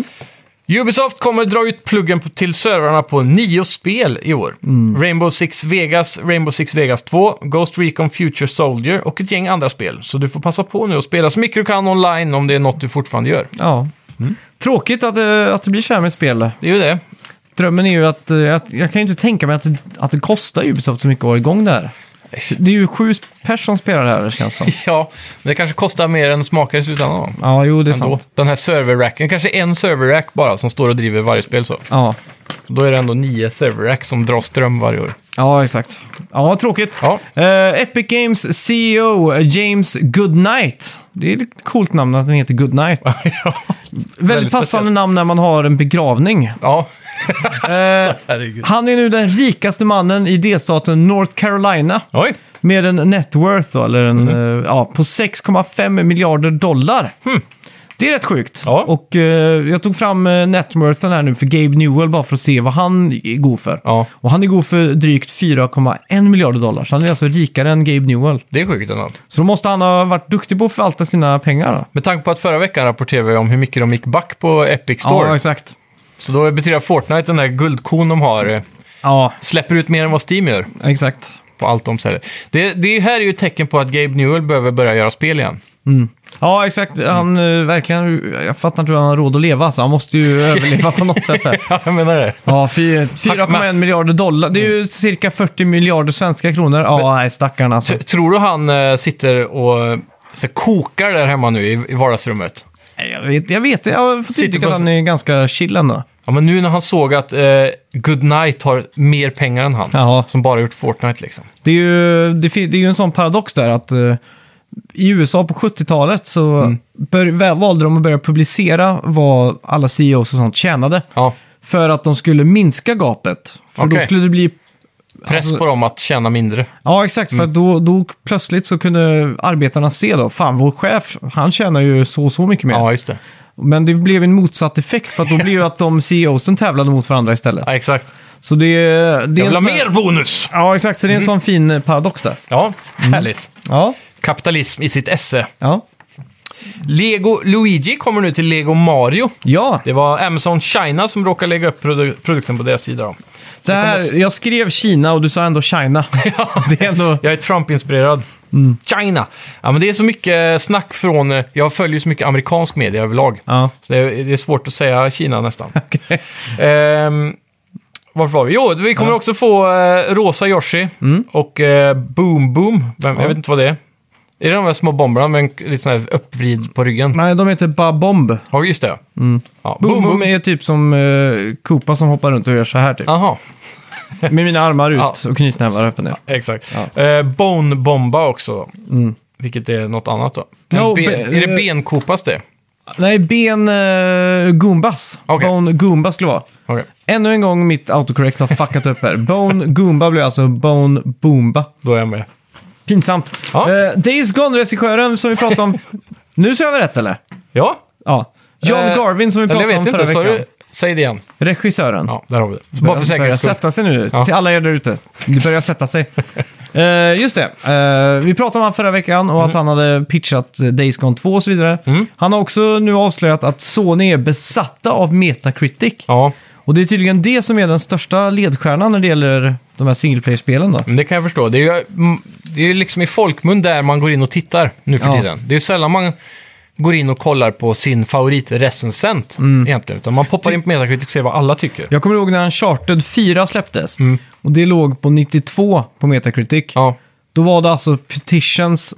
S2: Ubisoft kommer dra ut pluggen på- till servrarna på nio spel i år.
S1: Mm.
S2: Rainbow Six Vegas, Rainbow Six Vegas 2, Ghost Recon Future Soldier och ett gäng andra spel. Så du får passa på nu och spela så mycket du kan online om det är något du fortfarande gör.
S1: eh, ja. Tråkigt att, det- att det blir så här med spel.
S2: Det är ju det.
S1: drömmen är ju att, eh, att jag kan ju inte tänka mig att, att det kostar Ubisoft så mycket att vara igång där. Det är ju sju personer som spelar det här känns det som.
S2: Ja, men det kanske kostar mer än det smakar i slutändan. då.
S1: Ja, jo det är
S2: Ändå.
S1: sant.
S2: Den här serverracken, kanske en serverrack bara som står och driver varje spel så.
S1: Ja.
S2: Då är det ändå nio serverrack som drar ström varje år.
S1: ja, exakt. Ja, tråkigt.
S2: Ja,
S1: Eh, Epic Games CEO James Goodnight. Det är ett coolt namn att den heter Goodnight.
S2: ja.
S1: Väldigt passande
S2: speciellt.
S1: namn när man har en begravning.
S2: ja.
S1: Eh,
S2: herregud.
S1: han är nu den rikaste mannen i delstaten North Carolina.
S2: Oj,
S1: Med en net worth då, eller en,
S2: Mhm.
S1: eh, ja, på 6,5 miljarder dollar. Det är rätt sjukt.
S2: Hm. Ja.
S1: Och eh, jag tog fram eh, networthen här nu för Gabe Newell bara för att se vad han är god för.
S2: Ja.
S1: Och han är god för drygt 4,1 miljarder dollar. Så han är alltså rikare än Gabe Newell.
S2: det är sjukt ändå.
S1: Så då måste han ha varit duktig på att förvalta sina pengar då.
S2: Med tanke på att förra veckan rapporterade vi om hur mycket de gick back på Epic Store.
S1: Ja, exakt.
S2: så då betyder Fortnite, den där guldkon de har, eh,
S1: Ja,
S2: släpper ut mer än vad Steam gör
S1: exakt.
S2: på allt de säljer. Det, det här är ju ett tecken på att Gabe Newell behöver börja göra spel igen.
S1: Ja, exakt. Han eh, verkligen... Jag fattar inte hur han har råd att leva, så han måste ju överleva på något sätt här.
S2: Ja, jag menar det.
S1: Ja, fy- 4,1 miljarder dollar. Det är ju cirka 40 miljarder svenska kronor. Ja, nej, stackarna alltså.
S2: Tror du han eh, sitter och eh, så kokar där hemma nu i, i vardagsrummet?
S1: Nej, Jag vet, jag vet. Jag har fått
S2: Sitter
S1: intryck
S2: på-
S1: att han är ganska chill ändå.
S2: Ja, men nu när han såg att eh, Goodnight har mer pengar än han,
S1: Jaha.
S2: som bara gjort Fortnite liksom.
S1: Det är ju, det, fin- det är ju en sån paradox där att eh, i USA på 70-talet så
S2: Mm.
S1: bör, vä- valde de att börja publicera vad alla CEOs och sånt tjänade.
S2: Ja,
S1: För att de skulle minska gapet. För då
S2: Okej.
S1: skulle det bli...
S2: press
S1: Alltså-
S2: på Mm. dem att tjäna mindre.
S1: Ja, exakt. För att då, då plötsligt så kunde arbetarna se då, fan vår chef, han tjänar ju så så mycket mer.
S2: Ja, just det.
S1: Men det blev en motsatt effekt för att då blev ju att de CEOsen tävlade mot varandra istället.
S2: Ja, exakt.
S1: Så det, är- det är
S2: Jag
S1: en
S2: vill ha
S1: sån här-
S2: mer Mm. bonus!
S1: Ja, exakt. Så det är en sån fin eh, paradox där.
S2: Ja, härligt.
S1: Ja,
S2: Kapitalism i sitt esse.
S1: ja.
S2: Lego Luigi kommer nu till Lego Mario.
S1: Ja,
S2: Det var Amazon China som råkade lägga upp produ- produkten på deras sida. Då.
S1: det här, jag skrev Kina och du sa ändå China. det är ändå...
S2: Jag är Trump-inspirerad.
S1: Mm.
S2: China! Ja, men det är så mycket snack från... eh, Jag följer så mycket amerikansk media överlag.
S1: Ja.
S2: Så det är, det är svårt att säga Kina nästan. Ehm, varför var vi? Jo, vi kommer också få eh, Rosa Yoshi
S1: Mm.
S2: och eh, Boom Boom. Vem, Jag vet inte vad det är. Är det de där små bomberna med en k- lite sån här uppvrid på ryggen?
S1: Nej, de heter Babomb.
S2: Ja, just det. ja. Ja,
S1: Mm. Boom Boom är typ som uh, Koopa som hoppar runt och gör så här typ.
S2: Aha,
S1: Med mina armar ut
S2: Ja.
S1: och knytnävar öppen. Ja.
S2: exakt. Eh, bone Bomba också. Vilket är något annat då. En
S1: Jo,
S2: ben,
S1: be-
S2: är det benkopas det?
S1: Nej, ben uh, Goombas.
S2: Okej.
S1: Bone Goomba skulle vara.
S2: Okej.
S1: Ännu en gång mitt autocorrect har fuckat upp här. Bone Goomba blev alltså Bone Boomba.
S2: Då är jag med.
S1: Pinsamt.
S2: Ja.
S1: Eh, Days Gone-regissören som vi pratade om. nu ser jag väl rätt eller?
S2: Ja,
S1: Ja. John
S2: Eh,
S1: Garvin som vi
S2: eller jag
S1: pratade
S2: vet
S1: om förra
S2: inte. sa
S1: veckan.
S2: du- Säg det igen.
S1: Regissören.
S2: Ja, där har vi det. Bara för
S1: börjar
S2: säkerhets skull.
S1: sätta sig nu.
S2: Ja.
S1: Till alla er där ute. Det börjar sätta sig. Eh, just det. Eh, vi pratade om han förra veckan och att
S2: Mm.
S1: han hade pitchat eh, Days Gone 2 och så vidare. Han har också nu avslöjat att Sony är besatta av Metacritic.
S2: Ja,
S1: Och det är tydligen det som är den största ledstjärnan när det gäller de här single player-spelen då.
S2: men det kan jag förstå. Det är ju mm, det är ju liksom i folkmun där man går in och tittar nu för
S1: Ja.
S2: tiden. Det är ju sällan man går in och kollar på sin favoritrecensent egentligen. Utan man poppar in på Metacritic och ser vad alla tycker.
S1: Jag kommer ihåg när Uncharted 4 släpptes. Och det låg på 92 på Metacritic.
S2: Mm. Ja,
S1: Då var det alltså petitions,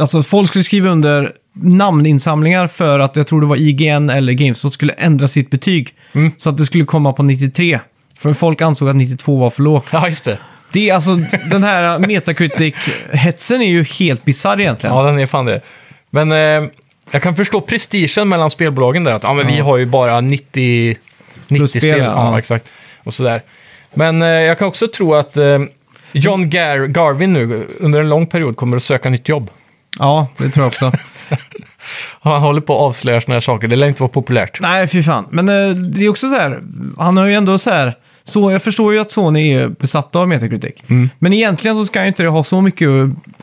S1: alltså folk skulle skriva under namninsamlingar för att jag tror det var IGN eller Gamespot skulle ändra sitt betyg.
S2: Mm.
S1: Så att det skulle komma på 93. För folk ansåg att 92 var för lågt.
S2: ja just det.
S1: Det är alltså, den här Metacritic-hetsen är ju helt bisarr egentligen.
S2: Ja, den är fan det. Men eh, jag kan förstå prestigen mellan spelbolagen där. Att, ja, men vi har ju bara 90, 90
S1: Plus spel,
S2: spel. Ja,
S1: ja.
S2: exakt. Och sådär. Men eh, jag kan också tro att eh, John Gar Garvin nu eh, under en lång period kommer att söka nytt jobb.
S1: ja det tror jag också.
S2: Han håller på att avslöja sådana här saker. Det lär inte vara populärt.
S1: Nej, fy fan. Men eh, det är också så här, han har ju ändå så här, så jag förstår ju att Sony är besatt av Metacritic.
S2: Mm.
S1: Men egentligen så ska ju inte det ha så mycket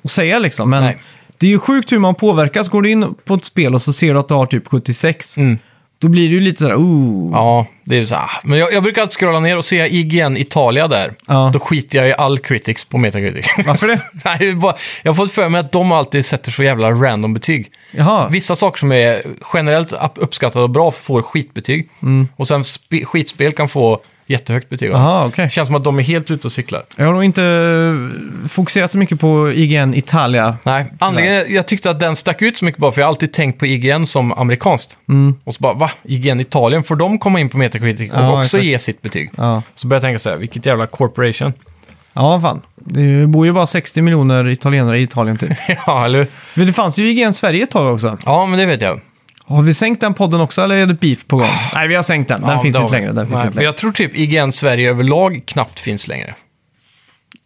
S1: att säga liksom. Men
S2: Nej.
S1: det är ju sjukt hur man påverkas. Går du in på ett spel och så ser du att du har typ 76,
S2: Mm.
S1: då blir det ju lite så här, ooh.
S2: Ja, det är ju så ah. Men jag, jag brukar alltid scrolla ner och se IGN Italia där.
S1: Ja.
S2: Då skiter jag i all critics på Metacritic.
S1: Varför det?
S2: Nej, det är bara, jag har fått för mig att de alltid sätter så jävla random betyg.
S1: Jaha,
S2: Vissa saker som
S1: Mm.
S2: är generellt upp- uppskattade och bra får skitbetyg. Och sen sp- skitspel kan få jättehögt betyg av.
S1: Jaha, okej.
S2: Det känns som att de är helt ute och cyklar.
S1: Jag har nog inte eh, fokuserat så mycket på IGN Italia.
S2: Nej, anledningen jag tyckte att den stack ut så mycket bara för jag har alltid tänkt på IGN som amerikanskt. Och så bara, va? IGN Italien, får de komma in på Metacritic och
S1: Mm. Ja,
S2: också
S1: exakt.
S2: ge sitt betyg?
S1: Ja,
S2: Så började jag tänka så här, vilket jävla corporation.
S1: ja fan. Det bor ju bara 60 miljoner italienare i Italien typ.
S2: ja, eller hur?
S1: Men det fanns ju IGN Sverige ett tag också.
S2: Ja, men det vet jag.
S1: Har vi sänkt den podden också eller är det beef på gång? Nej, vi Ah. har sänkt den. Den
S2: ja,
S1: finns
S2: det har
S1: inte
S2: vi.
S1: längre. Den finns
S2: Nej,
S1: inte
S2: Men
S1: längre.
S2: jag tror typ IGN Sverige överlag knappt finns längre.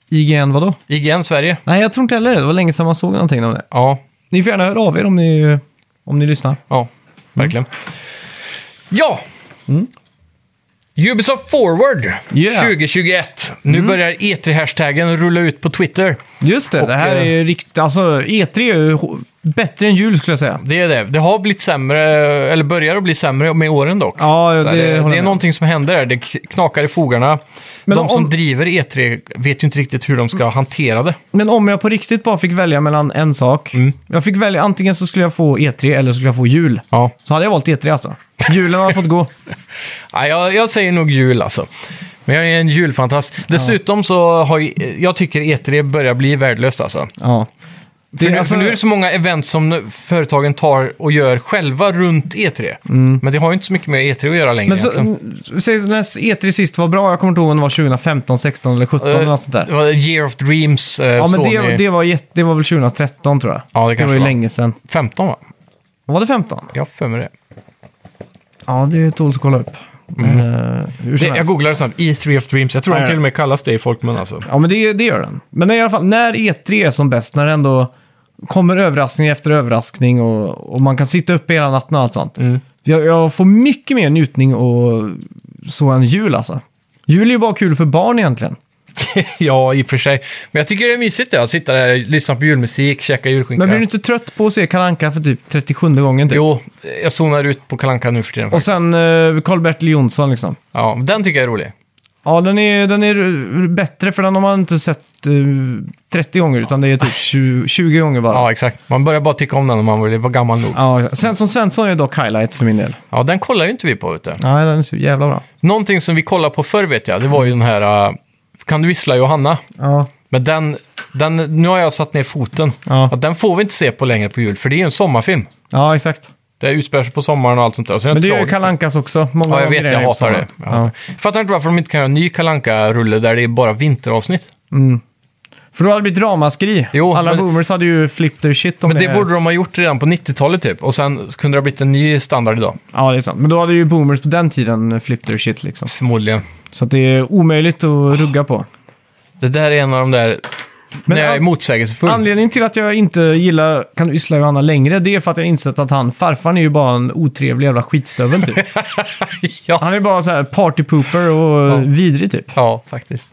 S1: IGN vadå?
S2: IGN Sverige?
S1: Nej, jag tror inte heller det. Det var länge sedan man såg någonting om det.
S2: Ja,
S1: Ni får gärna höra av er om ni, om ni lyssnar.
S2: ja, verkligen. Ja! Ubisoft Forward
S1: Mm. Yeah. Mm.
S2: 2021. Nu börjar E3-hashtaggen rulla ut på Twitter.
S1: Just det,
S2: Och,
S1: det här
S2: eh,
S1: är riktigt... Alltså, E3 är ju h- bättre än jul skulle jag säga.
S2: Det är det. Det har blivit sämre, eller börjar att bli sämre med åren dock.
S1: Ja,
S2: Så
S1: det
S2: här,
S1: håller jag
S2: det, det är
S1: med om.
S2: någonting som händer där. Det k- knakar i fogarna.
S1: Men
S2: de
S1: om-
S2: som driver E3 vet ju inte riktigt hur de ska hantera det.
S1: Men om jag på riktigt bara fick välja mellan en sak. Jag fick välja antingen så skulle jag få E3 eller så skulle jag få jul.
S2: Ja.
S1: Så hade jag valt E3 alltså. Julen har fått gå.
S2: Ja, jag, jag säger nog jul alltså. Men jag är en julfantast. Dessutom så har ju, jag tycker E3 börjar bli värdelöst alltså.
S1: Ja. Det,
S2: för, nu,
S1: alltså-
S2: för nu är det så många event som nu- företagen tar och gör själva runt E3. Men det har ju inte så mycket med E3 att göra längre.
S1: Mm. men så,
S2: egentligen.
S1: säg när E3 sist var bra, jag kommer inte ihåg om det var 2015, 16 eller 17 eller Mm. något sånt där.
S2: Det var Year of Dreams, eh,
S1: Ja, men
S2: Sony.
S1: det, det, var, jätte- det var väl 2013 tror jag.
S2: Ja, det
S1: det
S2: kanske
S1: var ju
S2: var.
S1: länge sedan.
S2: 15 va?
S1: Var det 15?
S2: Jag har för mig det.
S1: Ja, det tål att kolla upp. Men, eh, hur
S2: Mm. det
S1: som
S2: jag
S1: helst.
S2: googlade snabbt, E3 of Dreams. Jag tror
S1: Ja,
S2: de
S1: ja.
S2: till och med kallas det i folkmun alltså.
S1: Ja, men det, det gör den. Men i alla fall, när E3 är som bäst, när det ändå kommer överraskning efter överraskning och, och man kan sitta uppe hela natten och allt sånt.
S2: Mm.
S1: Jag, jag får mycket mer njutning och så än jul alltså. Jul är ju bara kul för barn egentligen.
S2: ja, i och för sig. Men jag tycker det är mysigt det, att sitta där, lyssna på julmusik, käka julskinka.
S1: Men blir du inte trött på att se Kalle Anka för typ 37 gången? Typ?
S2: Jo, jag zonar ut på Kalanka nu för tiden
S1: Och
S2: faktiskt.
S1: sen eh, Karl-Bertil Jonsson liksom.
S2: Ja, den tycker jag är rolig.
S1: Ja, den är, den är r- bättre för den har man inte sett eh, 30 gånger utan det är typ 20, 20 gånger bara.
S2: Ja, exakt. Man börjar bara tycka om den när man var gammal nog.
S1: Ja, exakt. Svensson Svensson är dock highlight för min del.
S2: Ja, den kollar ju inte vi på, vet du.
S1: Nej, den är så jävla bra.
S2: Någonting som vi kollade på förr, vet jag, det var ju den här... äh, kan du vissla Johanna?
S1: Ja,
S2: Men den... den nu har jag satt ner foten.
S1: Ja.
S2: Att den får vi inte se på längre på jul, för det är ju en sommarfilm.
S1: ja exakt.
S2: Det utspelar sig på sommaren och allt sånt där. Och sen
S1: Men det är ju
S2: tragiskt.
S1: Kalle Ankas också. Många
S2: Ja, jag
S1: av
S2: vet. Jag
S1: grejerna är på
S2: hatar
S1: samma.
S2: det. Jag hatar det. Fattar inte varför de inte kan göra en ny kalanka rulle där det är bara vinteravsnitt.
S1: Mm. För då hade det blivit ramaskri.
S2: Jo,
S1: Alla
S2: men-
S1: boomers hade ju flippt their shit om
S2: Men det borde de ha gjort redan på 90-talet typ. Och sen kunde det ha blivit en ny standard idag.
S1: Ja, det är sant. Men då hade ju boomers på den tiden flippt their shit liksom.
S2: Förmodligen.
S1: Så att det är omöjligt att rugga på.
S2: Det där är en av de där...
S1: Men
S2: när jag är
S1: an-
S2: motsägelsefull.
S1: Anledningen till att jag inte gillar Kan du vissla Johanna längre, det är för att jag insett att han, farfar är ju bara en otrevlig jävla skitstövel typ.
S2: ja.
S1: Han är bara så här party pooper och vidrig typ.
S2: ja, faktiskt.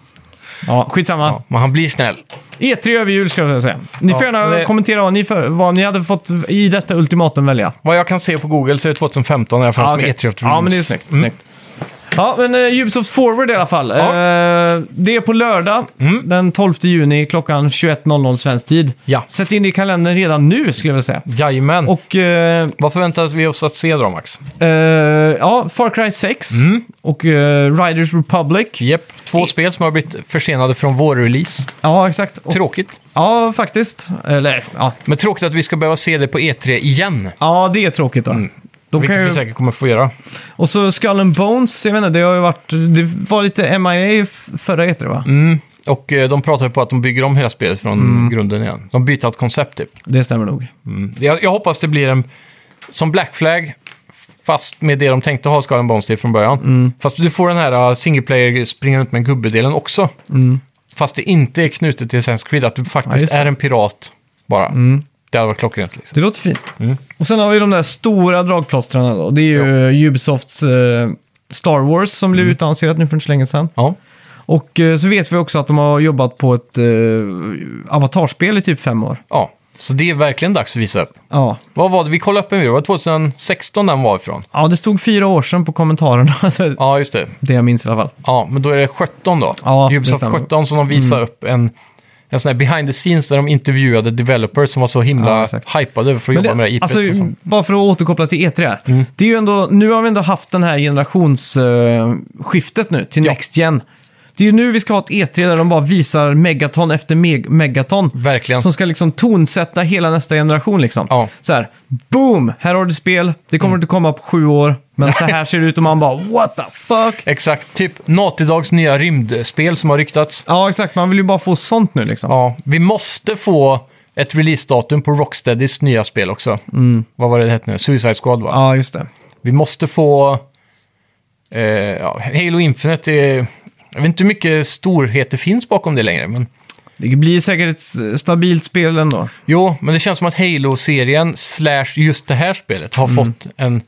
S1: Ja, skitsamma.
S2: Ja, men han blir snäll.
S1: E3 över jul ska jag säga. Ni får
S2: Ja,
S1: gärna
S2: men det-
S1: kommentera vad ni, för, vad ni hade fått i detta ultimatum välja.
S2: Vad jag kan se på Google så är E det 2015 i alla fall som
S1: okej.
S2: E3 of Dreams.
S1: ja men det är snyggt.
S2: Mm.
S1: snyggt. Ja, men eh, Ubisoft Forward i alla fall. Eh, det är på lördag den 12 juni klockan 21.00 svensk tid.
S2: Mm. Ja. Mm.
S1: Sätt in det i kalendern redan nu skulle jag vilja säga.
S2: Jajamän.
S1: Och eh,
S2: Vad förväntar vi oss att se då, Max?
S1: eh, ja, Far Cry 6 och eh, Riders Republic.
S2: Jep. Två spel som har blivit försenade från vår release.
S1: Ja, exakt. Och,
S2: Tråkigt.
S1: ja, faktiskt. Eller ja.
S2: Men tråkigt att vi ska behöva se det på E3 igen.
S1: ja, det är tråkigt då. De
S2: Vilket
S1: kan
S2: vi
S1: ju
S2: säkert kommer få göra.
S1: Och så Skull and Bones, jag vet inte, det har ju varit... Det var lite MIA f- förra E3 va?
S2: Mm. Och eh, de pratar ju på att de bygger om hela spelet från
S1: Mm.
S2: grunden igen. De byter ett koncept typ.
S1: Det stämmer nog.
S2: Jag, jag hoppas det blir en... Som Black Flag, fast med det de tänkte ha Skull and Bones till från början.
S1: Mm.
S2: Fast du får den här uh, single player springa runt med en gubbe-delen också. Fast det inte är knutet till Assassin's Creed, att du
S1: Mm. Ja,
S2: faktiskt
S1: just det. Mm.
S2: är en pirat bara. Det hade varit klockrent liksom.
S1: Det låter fint. Och sen har vi de där stora dragplåstren då. Det är ju Ubisofts eh, Star Wars som blev utannonserat nu för inte så länge sedan.
S2: Ja.
S1: Och eh, så vet vi också att de har jobbat på ett eh, avatarspel i typ fem år.
S2: ja. Så det är verkligen dags att visa upp.
S1: Ja.
S2: Vad var det? Vi kollade upp en video. Det var 2016 den var ifrån.
S1: ja, det stod fyra år sedan på kommentarerna. så
S2: Ja, just det.
S1: Det jag minns i alla fall.
S2: Ja, men då är det 17 då.
S1: Ja, det
S2: Ubisoft
S1: stämmer. Mm.
S2: 17 som de visar upp en, en en sån här behind the scenes där de intervjuade developers som var så
S1: Ja,
S2: himla
S1: exakt.
S2: hypade över för att
S1: Men
S2: jobba med det här IPet.
S1: alltså,
S2: och sånt.
S1: bara för att återkoppla till E3 här.
S2: Mm.
S1: Det är ju ändå, nu har vi ändå haft den här generationsskiftet nu till
S2: Ja.
S1: Next Gen. Det är ju nu vi ska ha ett E3 där de bara visar megaton efter meg- megaton.
S2: Verkligen.
S1: Som ska liksom tonsätta hela nästa generation liksom.
S2: Ja. Mm.
S1: Så här, boom! Här har du spel. Det kommer inte komma på sju år. Men så här ser det ut och man bara what the fuck?
S2: Exakt, typ Naughty Dogs nya rymdspel som har ryktats.
S1: Ja, exakt. Man vill ju bara få sånt nu liksom.
S2: Ja, vi måste få ett releasedatum på Rocksteadys nya spel också. Vad var det det hette nu? Suicide Squad va?
S1: Mm. Ja, just det.
S2: Vi måste få... Eh, ja, Halo Infinite är... Jag vet inte hur mycket storhet det finns bakom det längre, men...
S1: Det blir säkert ett s- stabilt spel ändå.
S2: Jo, men det känns som att Halo-serien slash just det här spelet har
S1: Mm.
S2: fått en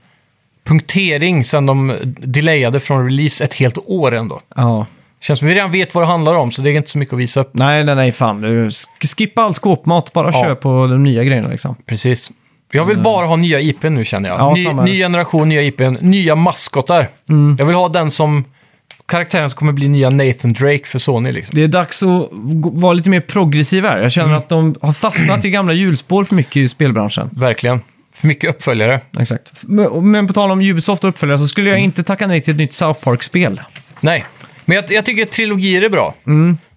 S2: punktering sen de delayade från release ett helt år ändå.
S1: Ja.
S2: Känns som vi redan vet vad det handlar om, så det är inte så mycket att visa upp.
S1: Nej, nej, nej, fan. Du, sk- skippa all skåpmat, bara
S2: Ja.
S1: kör på de nya grejerna liksom.
S2: Precis. Jag vill bara ha nya IP nu känner jag.
S1: Mm. Ja,
S2: ny,
S1: samma här. Mm.
S2: ny generation, nya IP, nya maskottar. Jag vill ha den som... Karaktären som kommer bli nya Nathan Drake för Sony liksom.
S1: Det är dags att gå- vara lite mer progressiv här. Jag
S2: Mm.
S1: känner att de har fastnat i gamla hjulspår för mycket i spelbranschen.
S2: Verkligen. För mycket uppföljare.
S1: Exakt. Men, men på tal om Ubisoft och uppföljare så
S2: Mm.
S1: skulle jag inte tacka nej till ett nytt South Park-spel.
S2: Nej, men jag, jag tycker trilogier är bra.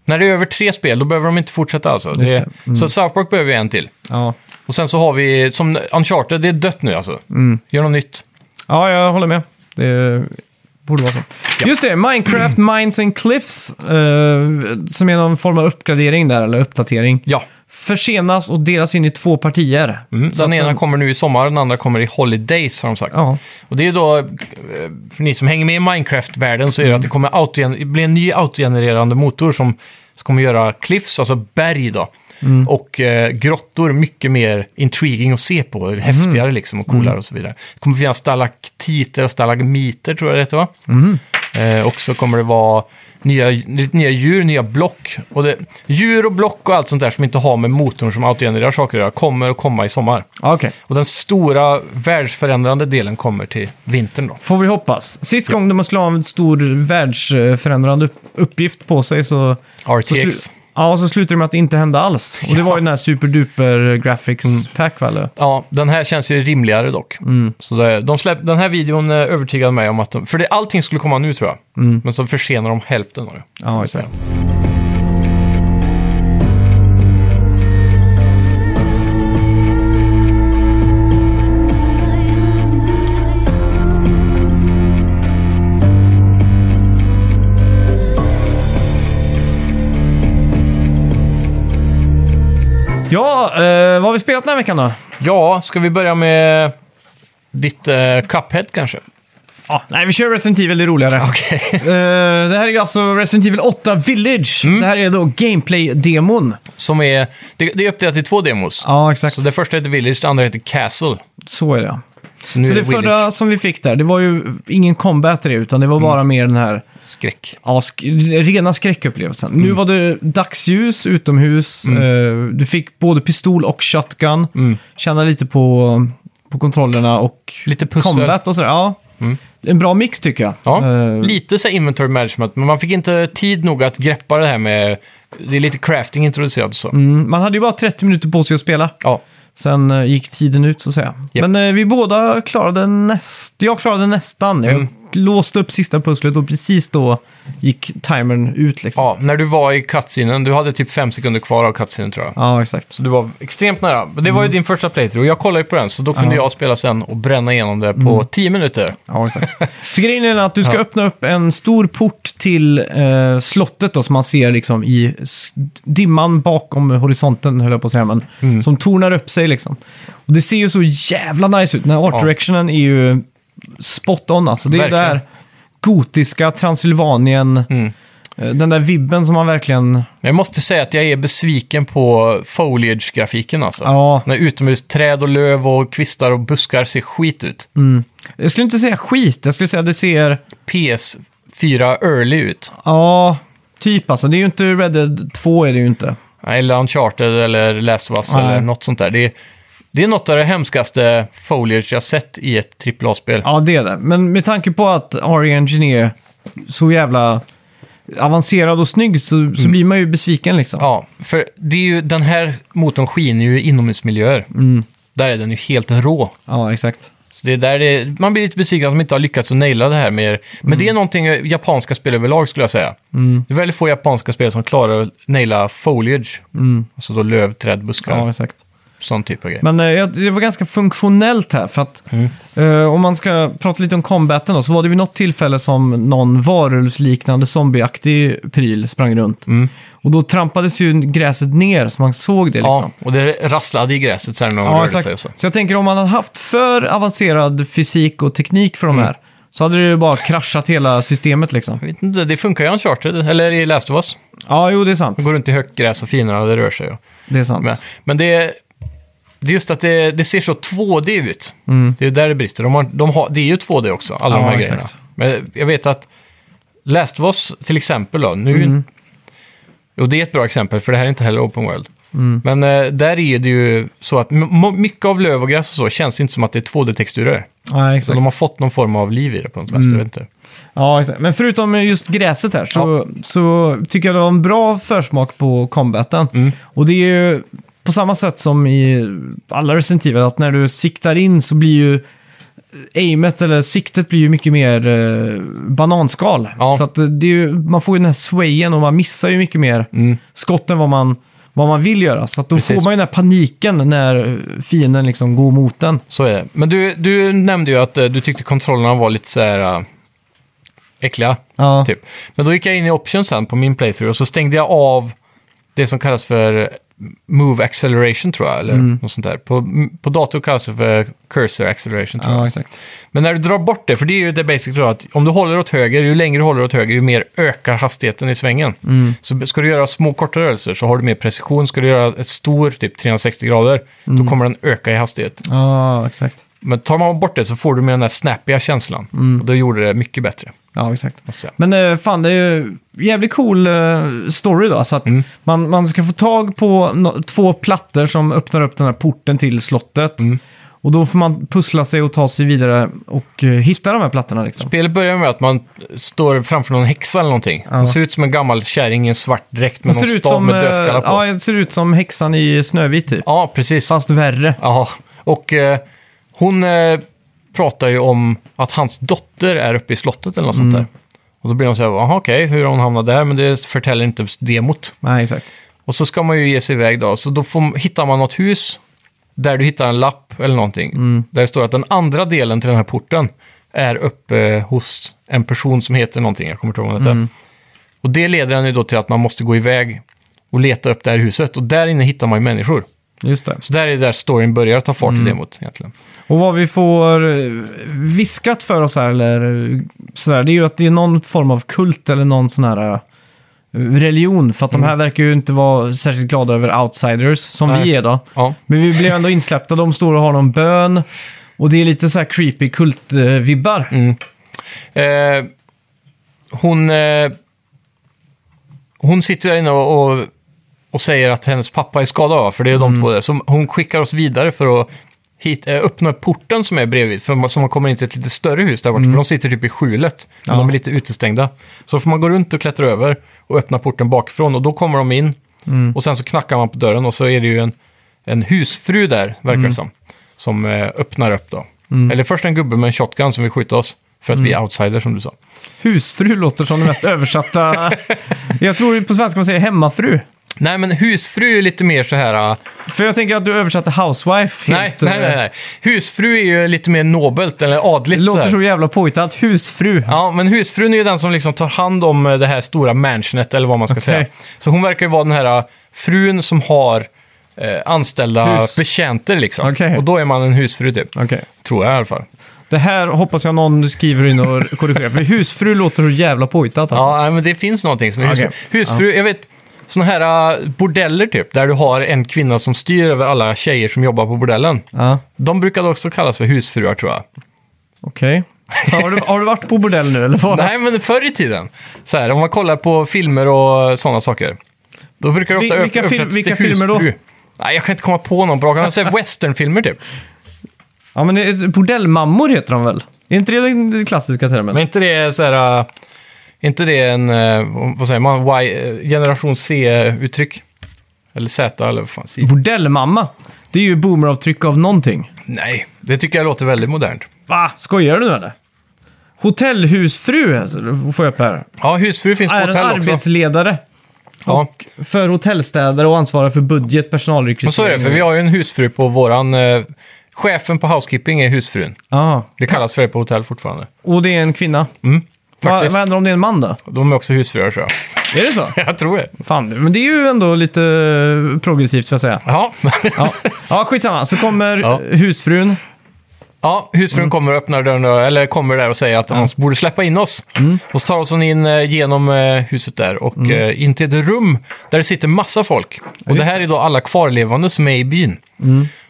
S2: När det är över tre spel, då behöver de inte fortsätta alltså. Det,
S1: Mm. Just det. Mm.
S2: Så South Park behöver ju en till.
S1: Ja.
S2: Och sen så har vi, som Uncharted, det är dött nu alltså.
S1: Mm.
S2: Gör något nytt.
S1: ja, jag håller med. Det borde vara så. Just det, Minecraft Mines and Cliffs, eh, som är någon form av uppgradering där, eller uppdatering,
S2: Ja,
S1: försenas och delas in i två partier.
S2: mm.
S1: Så att
S2: den ena kommer nu i sommar, den andra kommer i Holidays har de sagt.
S1: Ja,
S2: Och det är ju då, eh, för ni som hänger med i Minecraft-världen så är det att det kommer autogen- bli en ny autogenererande motor som, som kommer göra cliffs, alltså berg då. Och eh, grottor mycket mer intriguing att se på, häftigare liksom och coolare och så vidare. Det kommer finnas stalaktiter och stalagmiter tror jag det heter va? Eh, och så kommer det vara nya, lite nya djur, nya block. Och det, djur och block och allt sånt där som inte har med motorn som autogenererar saker att göra kommer att komma i sommar.
S1: okej.
S2: Och den stora världsförändrande delen kommer till vintern då.
S1: Får vi hoppas. Sist gång de skulle ha en stor världsförändrande upp- uppgift på sig så... så slu-
S2: RTX.
S1: ja, så slutade det med att det inte hände alls. Och det var ju den här superduper graphics
S2: Mm.
S1: pack, va? eller?
S2: Ja, den här känns ju rimligare dock.
S1: Mm.
S2: Så det, de släpp, den här videon eh, övertygade mig om att de, För det, allting skulle komma nu tror jag. Men så försenar de hälften av det.
S1: Mm. Ja, exakt. Ja, eh, vad har vi spelat den här veckan då?
S2: Ja, ska vi börja med ditt eh, Cuphead kanske?
S1: Ah, nej, vi kör Resident Evil, det är roligare.
S2: Okej.
S1: Eh, det här är alltså Resident Evil 8 Village.
S2: Mm.
S1: Det här är då gameplay-demon.
S2: Som är... Det, det är uppdelat i två demos.
S1: Ja, exakt.
S2: Så
S1: Så,
S2: det första heter Village, det andra heter Castle.
S1: är det.
S2: Så nu
S1: Så
S2: är
S1: det
S2: det Village.
S1: förra som vi fick där, det var ju ingen combat i det, utan det
S2: Mm.
S1: var bara mer den här
S2: Skräck.
S1: ja, sk- rena skräckupplevelsen.
S2: Mm.
S1: Nu var det dagsljus utomhus, eh, du fick både pistol och shotgun.
S2: Mm.
S1: Känna lite på, på kontrollerna och
S2: Lite pussel. Mm.
S1: combat och sådär. Ja. En bra mix tycker jag.
S2: Ja,
S1: Eh,
S2: lite så här inventory management, men man fick inte tid nog att greppa det här med... Det är lite crafting introducerat och så.
S1: mm, man hade ju bara 30 minuter på sig att spela.
S2: Ja,
S1: Sen eh, gick tiden ut så att säga.
S2: Japp.
S1: Men eh, vi båda klarade nästan. Jag klarade nästan. Jag
S2: Mm.
S1: låste upp sista pusslet och precis då gick timern ut liksom.
S2: ja, när du var i cutscenen, du hade typ fem sekunder kvar av cutscenen tror jag.
S1: Ja, exakt.
S2: Så du var extremt nära. Men det var ju din första playthrough, jag kollade ju på den, så då kunde jag spela sen och bränna igenom det på 10 minuter.
S1: Ja, exakt. Så grejen är den att du ska
S2: Ja.
S1: öppna upp en stor port till eh, slottet då, som man ser liksom i s- dimman bakom horisonten, höll jag på att säga, men
S2: Mm.
S1: som tornar upp sig liksom. Och det ser ju så jävla nice ut. Den här art
S2: Ja.
S1: directionen är ju spot on alltså. Det är ju det
S2: Verkligen. Mm.
S1: här gotiska Transylvanien, eh, den där vibben som man verkligen...
S2: Men jag måste säga att jag är besviken på foliage-grafiken alltså.
S1: Ja.
S2: När utomhusträd och löv och kvistar och buskar ser skit ut.
S1: Jag skulle inte säga skit, jag skulle säga det ser...
S2: PS4 early ut.
S1: Ja, typ alltså. Det är ju inte Red Dead 2 är det ju inte.
S2: Eller Uncharted eller Last of Us
S1: Nej.
S2: eller något sånt där. Det är, det är något av det hemskaste foliage jag sett i ett AAA-spel.
S1: Ja, det är det. Men med tanke på att Ari Engineer så jävla avancerad och snygg så, så blir man ju besviken liksom.
S2: Mm. Ja, för det är ju, den här motorn skiner ju i inomhusmiljöer.
S1: Mm.
S2: Där är den ju helt rå.
S1: Ja, exakt.
S2: Så det är där det, man blir lite besviken att de inte har lyckats att naila det här mer.
S1: Mm.
S2: Men det är någonting eh, japanska spel överlag skulle jag säga. Det är väldigt få japanska spel som klarar att naila foliage. Alltså då löv, träd, buskar,
S1: Mm. Ja, exakt.
S2: sån typ av grej.
S1: Men eh, jag- det var ganska funktionellt här. För att,
S2: Mm.
S1: eh, om man ska prata lite om combaten då, så var det vid något tillfälle som någon varulvsliknande zombieaktig pryl sprang runt. Och då trampades ju gräset ner så man såg det liksom.
S2: Mm. Ja, och det rasslade i gräset sen när de
S1: Ja,
S2: rörde
S1: exakt.
S2: sig och så.
S1: Så jag tänker om man hade haft för avancerad fysik och teknik för de
S2: Mm.
S1: här så hade det ju bara kraschat hela systemet liksom.
S2: Jag vet inte, det funkar ju i Uncharted, eller i Last of Us.
S1: Ja, jo det är sant.
S2: Det går runt i högt gräs och finare och det rör sig. Och.
S1: Det är sant.
S2: Men, men det, det är just att det, det ser så 2D ut. Det är där det brister. De har, de har, det är ju 2D också, alla de
S1: Mm. Ja,
S2: här
S1: exakt.
S2: grejerna. Men jag vet att Last of Us till exempel då, nu...
S1: Mm.
S2: Och det är ett bra exempel, för det här är inte heller open world.
S1: Mm.
S2: Men eh, där är det ju så att m- m- mycket av löv och gräs och så känns inte som att det är 2D-texturer.
S1: Ja,
S2: Så
S1: exakt. Mm.
S2: de har fått någon form av liv i det på något vänster, jag vet inte.
S1: Ja, exakt. Men förutom just gräset här så, så tycker jag det var en bra försmak på combaten.
S2: Mm.
S1: Och det är ju på samma sätt som i alla Resident Evil, att när du siktar in så blir ju aimet eller siktet blir ju mycket mer eh, bananskal.
S2: Ja.
S1: Så att eh, det är ju, man får ju den här swayen och man missar ju mycket mer skott än vad man, vad man vill göra. Så att då
S2: Mm. Precis.
S1: får man ju den här paniken när fienden liksom går mot den.
S2: Så är det. Men du, du nämnde ju att eh, du tyckte kontrollerna var lite så här eh, äckliga.
S1: Ja,
S2: Typ. Men då gick jag in i options sen på min playthrough och så stängde jag av det som kallas för eh, move acceleration tror jag, eller
S1: Mm.
S2: något sånt där. På, på dator kallas det för cursor acceleration tror
S1: ja
S2: jag.
S1: exakt.
S2: Men när du drar bort det, för det är ju det basic då, att om du håller åt höger, ju längre du håller åt höger, ju mer ökar hastigheten i svängen.
S1: Mm.
S2: Så ska du göra små korta rörelser så har du mer precision. Ska du göra ett stor, typ 360 grader,
S1: Mm.
S2: då kommer den öka i hastighet.
S1: Ja, exakt.
S2: Men tar man bort det så får du med den där snappiga känslan.
S1: Mm.
S2: Och då gjorde det mycket bättre.
S1: Ja, exakt.
S2: Måste jag.
S1: Men eh, fan, det är ju jävligt cool eh, story då. Så att
S2: Mm.
S1: man, man ska få tag på no- två plattor som öppnar upp den här porten till slottet.
S2: Mm.
S1: Och då får man pussla sig och ta sig vidare och eh, hitta de här plattorna liksom.
S2: Spelet börjar med att man står framför någon häxa eller någonting. Hon ser ut som en gammal kärring i en svart dräkt med
S1: Hon
S2: någon
S1: ser ut
S2: stav
S1: som,
S2: med
S1: eh,
S2: dödskallar på.
S1: ja,
S2: Ja,
S1: det ser ut som häxan i Snövit typ.
S2: precis.
S1: Fast värre.
S2: Ja. Och eh, hon eh, pratar ju om att hans dotter är uppe i slottet eller något sånt
S1: Mm.
S2: där. Och då blir hon så här, jaha okej, hur har hon hamnat där? Men det förtäller inte demot.
S1: Nej, exakt.
S2: Och så ska man ju ge sig iväg då. Så då får, hittar man något hus där du hittar en lapp eller någonting. Där det står att den andra delen till den här porten är uppe hos en person som heter någonting. Jag kommer inte ihåg vad han heter. Och det leder en ju då till att man måste gå iväg och leta upp det här huset. Och där inne hittar man ju människor.
S1: Just det.
S2: Så där är där storyn börjar ta fart i demot egentligen.
S1: Och vad vi får eh, viskat för oss här, eller eh, sådär, det är ju att det är någon form av kult eller någon sån här eh, religion. För att de här verkar ju inte vara särskilt glada över outsiders, som
S2: Mm. Nej.
S1: vi är då.
S2: Ja,
S1: Men vi blev ändå insläppta, de står och har någon bön. Och det är lite så här creepy kult-vibbar.
S2: Mm. Eh, hon, eh, hon sitter där inne och, och, och säger att hennes pappa är skadad, va? för det är de två där. Så hon skickar oss vidare för att hit, eh, öppna upp porten som är bredvid, för man, så man kommer in till ett lite större hus där borta, för de sitter typ i skjulet. Men
S1: Ja.
S2: De är lite utestängda. Så får man gå runt och klättra över och öppna porten bakifrån och då kommer de in. Och sen så knackar man på dörren och så är det ju en, en husfru där, verkar det som, som eh, öppnar upp då. Eller först en gubbe med en shotgun som vill skjuta oss, för att vi är outsiders som du sa.
S1: Husfru låter som det mest översatta. jag tror på svenska man säger hemmafru.
S2: Nej, men husfru är lite mer så här... äh,
S1: För jag tänker att du översatte housewife
S2: Nej,
S1: helt.
S2: nej, nej,
S1: eh,
S2: nej. Husfru är ju lite mer nobelt eller adligt.
S1: Det låter
S2: här.
S1: så jävla påhittat. Husfru.
S2: Ja, men husfrun är ju den som liksom tar hand om eh, det här stora mansionet, eller vad man ska säga. Så hon verkar ju vara den här eh, frun som har eh, anställda
S1: Hus.
S2: betjänter liksom.
S1: Okej.
S2: Och då är man en husfru typ.
S1: Okej.
S2: Tror jag i alla fall.
S1: Det här hoppas jag någon skriver in och korrigerar. För husfru låter så jävla påhittat. alltså.
S2: Ja, nej, men det finns någonting som är husfru.
S1: Okej.
S2: Husfru, jag vet, sådana här eh, bordeller typ, där du har en kvinna som styr över alla tjejer som jobbar på bordellen.
S1: Ja,
S2: De brukade också kallas för husfruar tror jag.
S1: okej. Har, du, har du varit på bordell nu eller vad?
S2: Nej, men förr i tiden. Så här, om man kollar på filmer och sådana saker. Då brukar det ofta
S1: Vil- vilka
S2: översättas
S1: fil-
S2: till
S1: vilka filmer då?
S2: husfru. Nej, jag kan inte komma på någon bra. Kan man säga westernfilmer typ?
S1: Ja, men det är- bordellmammor heter de väl? Är inte det den klassiska termen?
S2: Men inte det så här... äh, Är inte det en, eh, vad säger man, y, eh, generation C-uttryck? Eller Z, eller vad fan, C.
S1: Bordellmamma. Det är ju boomeravtryck av någonting.
S2: Nej, det tycker jag låter väldigt modernt.
S1: Va? Skojar du nu eller? Hotellhusfru alltså, får jag upp här.
S2: Ja, husfru finns på
S1: Är en
S2: hotell också.
S1: arbetsledare
S2: Ja.
S1: för hotellstädare och ansvarar för budget, personalrekrytering.
S2: Och så är det, för vi har ju en husfru på våran... Eh, chefen på housekeeping är husfrun.
S1: Ja.
S2: Det kallas för det på hotell fortfarande.
S1: Och det är en kvinna.
S2: Mm,
S1: Va, vad
S2: faktiskt.
S1: händer om det är en man då?
S2: De är också husfruar tror jag.
S1: Är det så?
S2: Jag tror det.
S1: Fan, men det är ju ändå lite eh, progressivt får jag säga.
S2: Ja,
S1: Ja, ja skitsamma. Så kommer
S2: Ja.
S1: husfrun.
S2: ja husfrun kommer och öppnar dörren, då, eller kommer där och säger att han borde släppa in oss. Och så tar hon in eh, genom eh, huset där och eh, in till ett rum där det sitter massa folk. Och det Mm. här är då alla kvarlevande som är i byn.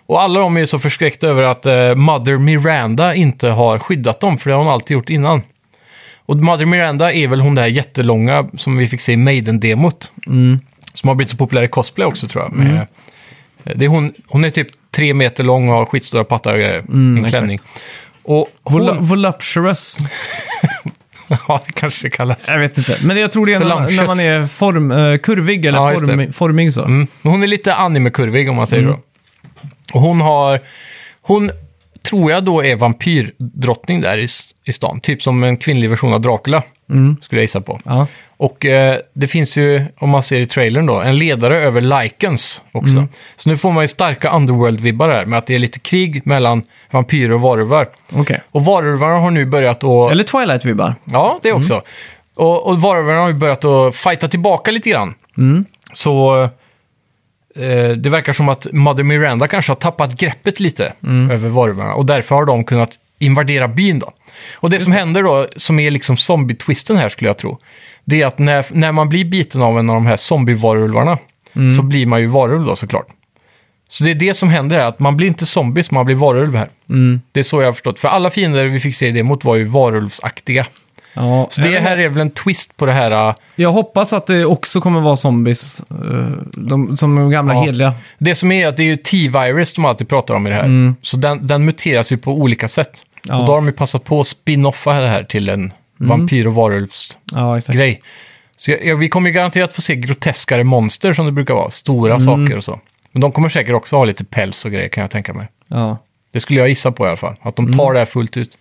S2: Och alla de är så förskräckta över att eh, Mother Miranda inte har skyddat dem, för det har hon alltid gjort innan. Och Mother Miranda är väl hon där jättelånga som vi fick se i Maiden-demot. Som har blivit så populär i cosplay också tror jag. Med, det är hon, hon är typ tre meter lång och har skitstora pattar och grejer. en klänning. Och
S1: Vol-
S2: hon...
S1: voluptuous.
S2: ja, det kanske det kallas.
S1: Jag vet inte. Men jag tror det är när,
S2: Voluptuous.
S1: när man är form, eh, kurvig eller
S2: Ja, just det.
S1: form, formig så.
S2: Mm. Men hon är lite anime-kurvig om man säger så. Och hon har... Hon tror jag då är vampyrdrottning där i, s- i stan. Typ som en kvinnlig version av Dracula. Skulle jag gissa på.
S1: Ja.
S2: Och eh, det finns ju, om man ser i trailern då, en ledare över Lycans också. Så nu får man ju starka Underworld-vibbar här med att det är lite krig mellan vampyrer och varulvar.
S1: Okej.
S2: Och varulvarna har nu börjat att...
S1: Eller Twilight-vibbar.
S2: Ja, det också. Och, och varulvarna har ju börjat att fighta tillbaka lite grann. Så eh, det verkar som att Mother Miranda kanske har tappat greppet lite över varulvarna. Och därför har de kunnat invadera byn då. Och det som händer då, som är liksom zombie-twisten här skulle jag tro, det är att när, när man blir biten av en av de här zombie-varulvarna så blir man ju varulv då såklart. Så det är det som händer här, att man blir inte zombies, man blir varulv här. Det är så jag har förstått. För alla fiender vi fick se i demot var ju varulvsaktiga.
S1: Ja.
S2: Så det här är väl en twist på det här. äh,
S1: Jag hoppas att det också kommer vara zombies. eh, De, som de gamla
S2: Ja.
S1: heliga.
S2: Det som är att det är ju T-virus de alltid pratar om i det här. Så den, den muteras ju på olika sätt.
S1: Mm. Ja. Mm.
S2: Och då har de ju passat på att spinoffa det här till en vampyr och varulvsgrej.
S1: Ja, exakt.
S2: Så jag, jag, vi kommer ju garanterat få se groteskare monster som det brukar vara. Stora
S1: Mm.
S2: saker och så. Men de kommer säkert också ha lite päls och grejer kan jag tänka mig.
S1: Ja.
S2: Det skulle jag gissa på i alla fall. Att
S1: Mm.
S2: de tar det här fullt ut.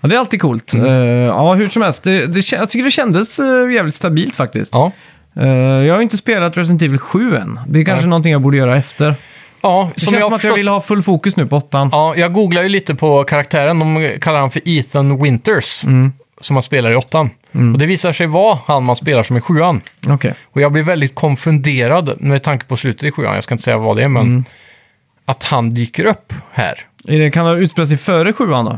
S1: ja, det är alltid coolt.
S2: Mm.
S1: Eh, ja, hur som helst. Det, det, kä- jag tycker det kändes eh, jävligt stabilt faktiskt.
S2: Ja.
S1: Eh, jag har inte spelat Resident Evil 7 än. Det är kanske
S2: Nej.
S1: någonting jag borde göra efter.
S2: Ja,
S1: Det
S2: som
S1: känns som
S2: jag har
S1: att jag
S2: förstått...
S1: vill ha full fokus nu på åttan.
S2: Ja, jag googlar ju lite på karaktären. De kallar han för Ethan Winters,
S1: Mm.
S2: som man spelar i åttan. Och det visar sig vara han man spelar som i sjuan.
S1: Okej.
S2: Och jag blir väldigt konfunderad med tanke på slutet i sjuan. Jag ska inte säga vad det är, men
S1: Mm.
S2: att han dyker upp här.
S1: Är det, kan det ha utspelat sig före sjuan då?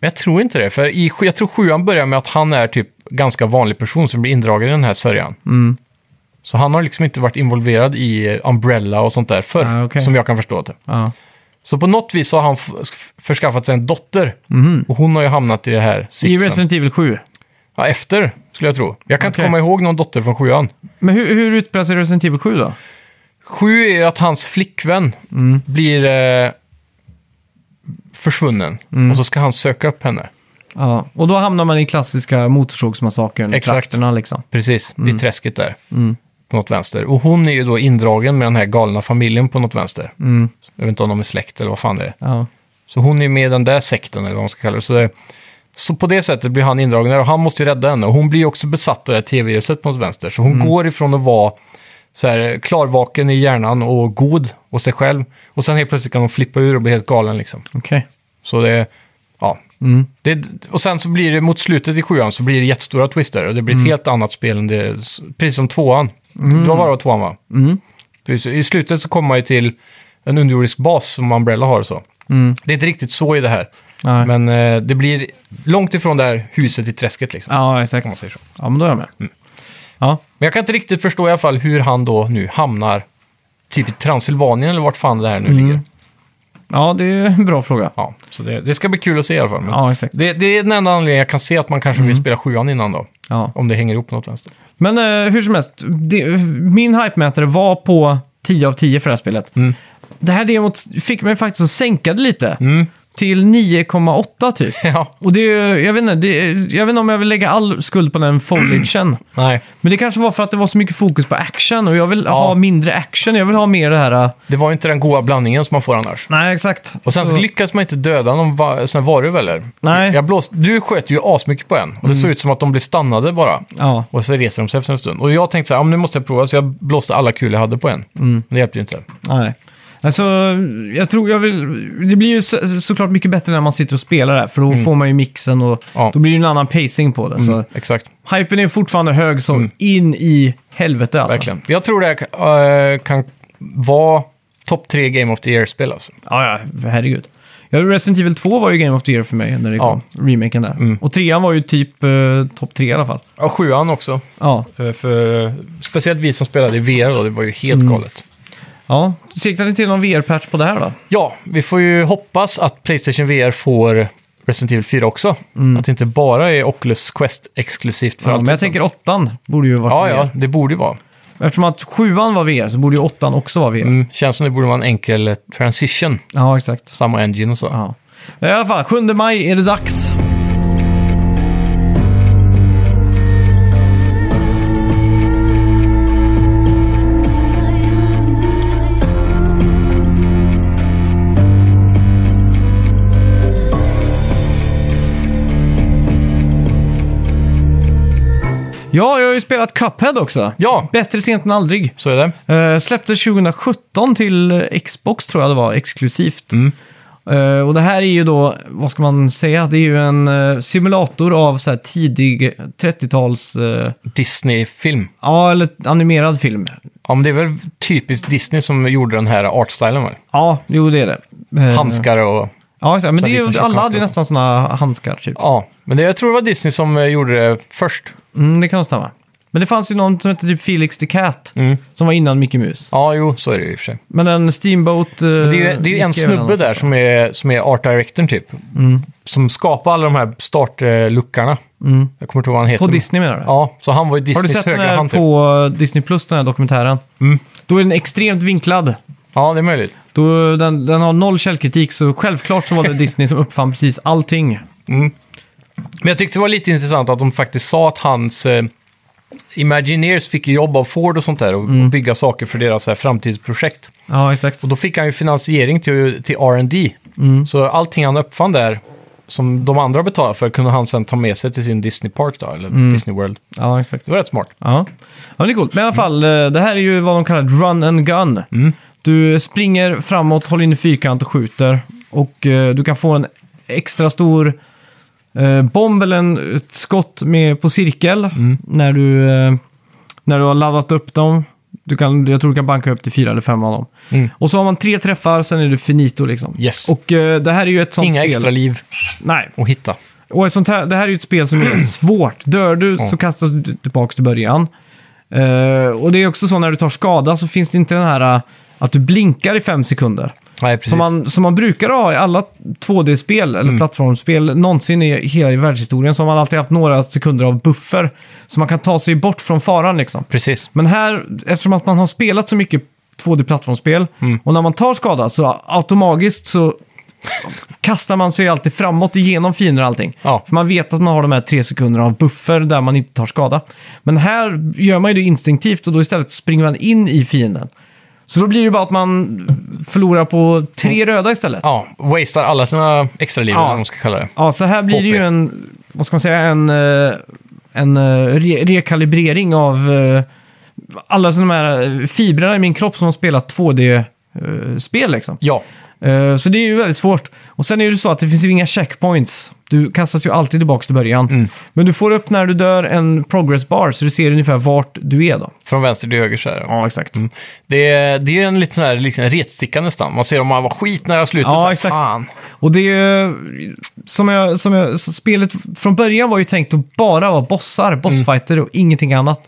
S2: Men jag tror inte det, för i, sj- jag tror sjuan börjar med att han är typ ganska vanlig person som blir indragen i den här sörjan.
S1: Mm.
S2: Så han har liksom inte varit involverad i eh, Umbrella och sånt där förr,
S1: Ah, okej.
S2: som jag kan förstå typ. det.
S1: Ja.
S2: Så på något vis har han f- f- förskaffat sig en dotter. Och hon har ju hamnat i det här
S1: Mhm. I
S2: sitsen.
S1: Resident Evil 7.
S2: Ja, efter, skulle jag tro. Jag kan inte
S1: Okej.
S2: komma ihåg någon dotter från sjuan.
S1: Men hur, hur utspelar sig Resident Evil 7 då?
S2: Sju är ju att hans flickvän
S1: Mm.
S2: blir eh, försvunnen.
S1: Mm.
S2: Och så ska han söka upp henne.
S1: Ja. Och då hamnar man i klassiska motorsågsmassakern.
S2: Exakt.
S1: trakterna, Liksom.
S2: Precis, vid träsket där.
S1: Mm.
S2: På något vänster. Och hon är ju då indragen med den här galna familjen på något vänster.
S1: Mm.
S2: Jag vet inte om de är släkt eller vad fan det är.
S1: Ja.
S2: Så hon är med i den där sekten, eller vad man ska kalla det. Så, det- så på det sättet blir han indragen där och han måste ju rädda henne. Och hon blir ju också besatt av det här tv-viruset på något vänster. Så hon går ifrån att vara så här, klarvaken i hjärnan och god och sig själv. Och sen helt plötsligt kan hon flippa ur och bli helt galen liksom.
S1: Okej.
S2: Så det, ja.
S1: Mm.
S2: Det, och sen så blir det mot slutet i sjuan så blir det jättestora twister och det
S1: Mm.
S2: blir ett helt annat spel än det, precis som tvåan. Du har varit tvåan va?
S1: Mm.
S2: Precis. I slutet så kommer man ju till en underjordisk bas som Umbrella har och så. Det är inte riktigt så i det här.
S1: Mm. Nej.
S2: Men eh, det blir långt ifrån det här huset i träsket liksom.
S1: Ja,
S2: Om man Mm.
S1: exakt.
S2: säger så.
S1: Ja, men då är jag med. Ja.
S2: Men jag kan inte riktigt förstå i alla fall hur han då nu hamnar typ i Transylvanien eller vart fan det här nu
S1: Mm.
S2: ligger.
S1: ja, det är en bra fråga.
S2: Ja, så det, det ska bli kul att se i alla fall. Men
S1: Ja, exakt.
S2: Det, det är den enda anledningen jag kan se att man kanske vill spela sjuan innan då.
S1: Ja.
S2: Om det hänger ihop på något vänster.
S1: Men eh, hur som helst, det, min hype-mätare var på 10 av 10 för det här spelet. Det här demot fick mig faktiskt att sänka det lite. till 9,8 typ.
S2: Ja,
S1: Och det, är- jag, vet inte, det, är- jag vet inte om jag vill lägga all skuld på den foliagen.
S2: nej.
S1: Men det kanske var för att det var så mycket fokus på action och jag vill ha mindre action. Jag vill ha mer det här... äh,
S2: Det var ju inte den goda blandningen som man får annars.
S1: Nej, exakt.
S2: Och sen så lyckades man inte döda någon va- sån här varulv
S1: Nej.
S2: Jag blåst, du sköt ju asmycket på en och det såg ut som att de blev stannade bara.
S1: Ja.
S2: Och så reser de sig efter en stund. Och jag tänkte så här, ja, men nu måste jag prova. Så jag blåste alla kulor jag hade på en. Men det hjälpte ju inte.
S1: Nej. Alltså, jag tror jag vill... Det blir ju så, såklart mycket bättre när man sitter och spelar det här, för då får man ju mixen och
S2: Ja. Mm.
S1: då blir det en annan pacing på det. Så
S2: Exakt,
S1: hypen är fortfarande hög som in i helvete alltså.
S2: Mm. verkligen. Jag tror det här eh, kan vara topp tre Game of the Year-spel alltså.
S1: Ja, ja, herregud. Ja, Resident Evil 2 var ju Game of the Year för mig när det
S2: Ja. Mm.
S1: kom, remaken där. Och trean var ju typ eh, topp tre i alla fall.
S2: Ja, sjuan också.
S1: Ja,
S2: Eh, För, eh, speciellt vi som spelade i VR då, det var ju helt galet.
S1: ja. siktar ni till någon VR-patch på det här då?
S2: Ja, vi får ju hoppas att Playstation VR får Resident Evil 4 också. Att det inte bara är Oculus Quest exklusivt
S1: Mm.
S2: för
S1: Ja,
S2: allt.
S1: men jag
S2: liksom.
S1: tänker åttan borde ju
S2: Ja,
S1: varit
S2: ja,
S1: VR.
S2: det borde ju vara.
S1: Eftersom att sjuan var VR så borde ju åttan också vara VR.
S2: Mm, känns som det borde vara en enkel eh, transition,
S1: Ja, exakt.
S2: samma engine och så.
S1: Ja. I alla fall, 7 maj är det dags. Ja, jag har ju spelat Cuphead också.
S2: Ja.
S1: Bättre sent än aldrig.
S2: Så är det.
S1: Eh, släpptes 2017 till eh, Xbox tror jag det var, exklusivt.
S2: Mm.
S1: Eh, och det här är ju då, vad ska man säga, det är ju en eh, simulator av så här tidig 30-tals, eh,
S2: Disney-film.
S1: ja eller animerad film.
S2: Ja, men det är väl typiskt Disney som gjorde den här artstylen, va?
S1: Ja, jo det är det. Eh,
S2: Handskar och...
S1: Ja, exakt. men
S2: Så
S1: det är
S2: liten
S1: ju,
S2: tjock
S1: alla hade
S2: handskar
S1: ju
S2: och så.
S1: nästan sådana handskar typ.
S2: Ja, men det, jag tror det var Disney som eh, gjorde det först.
S1: Mm, det kan nog stämma. Men det fanns ju någon som hette typ Felix the Cat,
S2: Mm.
S1: som var innan Mickey Mus.
S2: Ja, jo, så är det ju i och för sig.
S1: Men den Steamboat... eh,
S2: Det är ju, det är ju en
S1: Mickey är Mm. väl
S2: snubbe
S1: annan.
S2: där som är, som är art directorn typ. Som skapar alla de här startluckarna. Jag kommer inte ihåg vad han heter.
S1: Mm. På
S2: men-
S1: Disney menar du?
S2: Ja, så han var
S1: Har
S2: ju
S1: du
S2: Disneys
S1: sett den
S2: högra
S1: här
S2: hand typ.
S1: på Disney Plus, den här dokumentären? Då är den extremt vinklad.
S2: Ja, det är möjligt.
S1: Då, den, den har noll källkritik, så självklart så var det Disney som uppfann precis allting.
S2: Men jag tyckte det var lite intressant att de faktiskt sa att hans eh, Imagineers fick ju jobb av Ford och sånt där och,
S1: Mm.
S2: och bygga saker för deras så här, framtidsprojekt.
S1: Ja, exakt.
S2: Och då fick han ju finansiering till, till R&D.
S1: Mm.
S2: Så allting han uppfann där, som de andra betalade för, kunde han sen ta med sig till sin Disney Park då, eller
S1: Mm.
S2: Disney World.
S1: Ja, exakt.
S2: Det var rätt smart.
S1: Ja. ja, men det är coolt. Men i alla fall, eh, det här är ju vad de kallar ett run and gun.
S2: Mm.
S1: Du springer framåt, håller in i fyrkant och skjuter. Och eh, du kan få en extra stor eh, bomb eller en, ett skott med, på cirkel
S2: Mm.
S1: när, du, eh, när du har laddat upp dem. Du kan, jag tror du kan banka upp till fyra eller fem av dem.
S2: Mm.
S1: Och så har man tre träffar, sen är du finito liksom.
S2: Yes.
S1: Och eh, det här är ju ett sånt
S2: Inga
S1: spel.
S2: extra liv
S1: Nej.
S2: att hitta.
S1: Och ett sånt här, det här är ju ett spel som är svårt. Dör du så kastas du tillbaka till början. Eh, och det är också så när du tar skada så finns det inte den här eh, att du blinkar i fem sekunder.
S2: Nej, precis.
S1: Som man, som man brukar ha i alla 2D-spel eller plattformsspel någonsin i hela i världshistorien. Så har man alltid haft några sekunder av buffer. Så man kan ta sig bort från faran liksom.
S2: Precis.
S1: Men här, eftersom att man har spelat så mycket 2D-plattformsspel och när man tar skada så automatiskt så kastar man sig alltid framåt igenom fiender och allting.
S2: Ja.
S1: För man vet att man har de här tre sekunderna av buffer där man inte tar skada. Men här gör man ju det instinktivt och då istället springer man in i fienden. Så då blir det ju bara att man förlorar på tre röda istället.
S2: Ja, wastear alla sina extra liv,
S1: Ja.
S2: eller vad man ska kalla det.
S1: Ja, så här blir det
S2: HP.
S1: ju en, vad ska man säga, en, eh, en eh, re rekalibrering av eh, alla sådana här eh, fibrerna i min kropp som har spelat 2D-spel liksom.
S2: Ja,
S1: Eh, Så det är ju väldigt svårt. Och sen är det så att det finns ju inga checkpoints. Du kastas ju alltid tillbaka till början. Men du får upp när du dör en progress bar så du ser ungefär vart du är då.
S2: från vänster till höger så här.
S1: Ja, exakt.
S2: Mm. Det, är, det är en liten sån här liten retsticka nästan. Man ser om man var skitnära slutet.
S1: Ja,
S2: så här,
S1: exakt.
S2: Fan.
S1: Och det är ju, som jag, som Mm. jag, så spelet från början var ju tänkt att bara vara bossar, bossfighter och ingenting annat.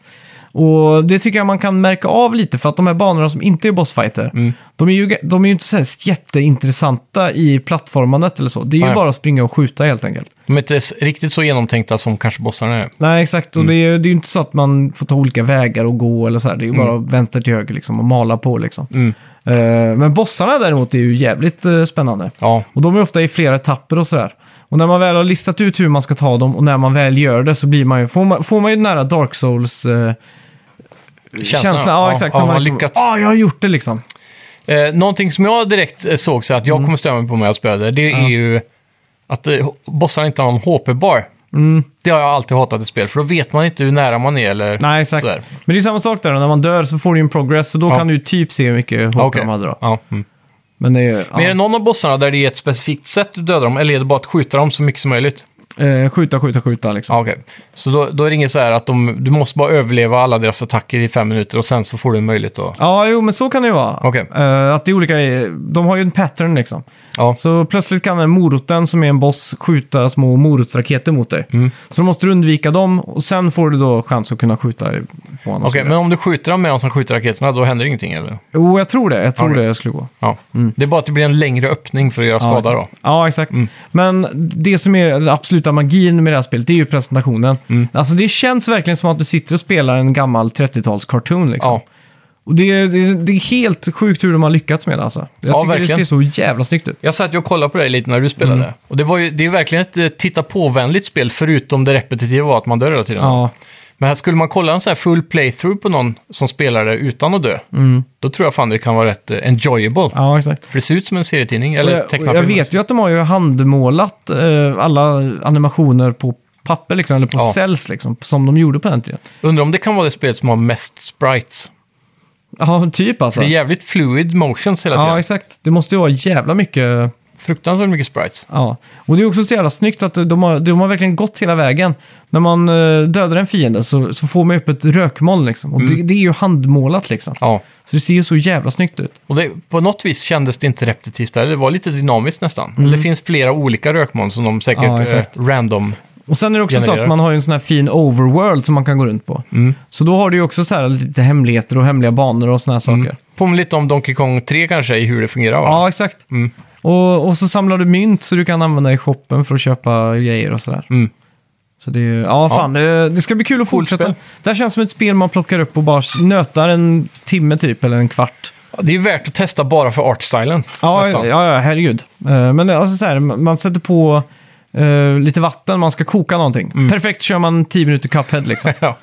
S1: Och det tycker jag man kan märka av lite, för att de här banorna som inte är bossfighter, de är ju, de är ju inte så här jätteintressanta i plattformandet eller så. Det är ju
S2: Nej.
S1: bara att springa och skjuta helt enkelt.
S2: De är inte s- riktigt så genomtänkta som kanske bossarna är.
S1: Nej, exakt. Och det, är, ju- det är ju inte så att man får ta olika vägar och gå eller så här. Det är ju bara att vänta till höger liksom och mala på liksom. Eh, men bossarna däremot är ju jävligt eh, spännande.
S2: Ja,
S1: Och de är ofta i flera etapper och sådär. Och när man väl har listat ut hur man ska ta dem och när man väl gör det så blir man ju, får, man, får man ju den nära Dark Souls... Eh,
S2: Känslan,
S1: känslan. Ja,
S2: ja.
S1: exakt.
S2: Ja,
S1: När
S2: man har
S1: liksom,
S2: lyckats.
S1: Ja, jag har gjort det liksom.
S2: Eh, någonting som jag direkt eh, såg så att jag
S1: Mm.
S2: kommer störa mig på när jag spelade, det är ju att eh, bossarna inte har någon HP-bar.
S1: Mm.
S2: Det har jag alltid hatat i spel, för då vet man inte hur nära man är eller
S1: Nej, exakt.
S2: sådär.
S1: Men det är samma sak där, när man dör så får du ju en progress och då
S2: Ja.
S1: kan du ju typ se hur mycket HP
S2: Ja, okej.
S1: de hade då.
S2: Ja, mm.
S1: Men det är ju...
S2: Men är
S1: ja.
S2: det någon av bossarna där det är ett specifikt sätt du dödar dem, eller är det bara att skjuta dem så mycket som möjligt?
S1: Eh, skjuta, skjuta, skjuta liksom.
S2: Ja, okej. Så då, då är det inget så här att de, du måste bara överleva alla deras attacker i fem minuter och sen så får du en möjlighet att...
S1: Ja, jo, men så kan det ju vara.
S2: Okej.
S1: Eh, att det är olika, eh, de har ju en pattern liksom.
S2: Ja,
S1: Så plötsligt kan den moroten som är en boss skjuta små morotsraketer mot dig.
S2: Mm.
S1: Så då måste du undvika dem och sen får du då chans att kunna skjuta på honom.
S2: okej. Men om du skjuter dem med dem som skjuter raketerna, då händer ingenting eller?
S1: Jo, jag tror det. Jag tror
S2: Okej.
S1: det skulle gå.
S2: Ja. Det är bara att det blir en längre öppning för att göra
S1: ja,
S2: skada då. Mm.
S1: exakt. Ja, exakt. Men det som är den absoluta magin med det här spelet, det är ju presentationen.
S2: Mm.
S1: Alltså det känns verkligen som att du sitter och spelar en gammal 30-tals-cartoon liksom.
S2: Ja.
S1: Och det är, det, är, det är helt sjukt hur de har lyckats med det alltså. Jag
S2: Ja,
S1: tycker
S2: verkligen.
S1: det ser så jävla snyggt ut.
S2: Jag satt ju och kollade på dig lite när du spelade. Och det, var ju, det är ju verkligen ett eh, titta på-vänligt spel, förutom det repetitiva var att man dör hela tiden.
S1: Ja,
S2: Men här skulle man kolla en sån här full playthrough på någon som spelar det utan att dö, då tror jag fan det kan vara rätt eh, enjoyable.
S1: ja exakt.
S2: För det ser ut som en serietidning,
S1: Och
S2: eller
S1: jag, och jag
S2: tecknafilm.
S1: vet ju att de har ju handmålat eh, alla animationer på papper liksom, eller på
S2: Ja.
S1: cells liksom, som de gjorde på den tiden.
S2: Undrar om det kan vara det spelet som har mest sprites.
S1: Ja, typ alltså.
S2: Det är jävligt fluid motions hela tiden.
S1: Ja, exakt. Det måste ju vara jävla mycket...
S2: Fruktansvärt mycket sprites.
S1: Ja. Och det är också så jävla snyggt att de har, de har verkligen gått hela vägen. När man eh, dödar en fiende så, så får man upp ett rökmoln liksom. Och det, det är ju handmålat liksom.
S2: Mm. Ja.
S1: Så det ser ju så jävla snyggt ut.
S2: Och det, på något vis kändes det inte repetitivt där. Det var lite dynamiskt nästan. Det finns flera olika rökmoln som de säkert
S1: Mm. Ja,
S2: eh,
S1: exakt.
S2: random...
S1: Och sen är det också så
S2: Genererar.
S1: att man har ju en sån här fin overworld som man kan gå runt på.
S2: Mm.
S1: Så då har du ju också så här lite hemligheter och hemliga banor och såna här
S2: Mm.
S1: saker.
S2: Påminner lite om Donkey Kong 3 kanske i hur det fungerar va?
S1: Ja, exakt. Och, och så samlar du mynt så du kan använda i shoppen för att köpa grejer och sådär.
S2: Mm.
S1: Så det är ju, ja fan, Det, det ska bli kul att
S2: Coolt
S1: fortsätta.
S2: spel.
S1: Det här känns som ett spel man plockar upp och bara nötar en timme typ, eller en kvart.
S2: Det är värt att testa bara för artstylen.
S1: Ja, ja,
S2: nästan.
S1: ja herregud. Eh, Men det- alltså så här, man sätter på eh, lite vatten, man ska koka någonting. Perfekt kör man 10 minuter cuphead liksom.
S2: Ja.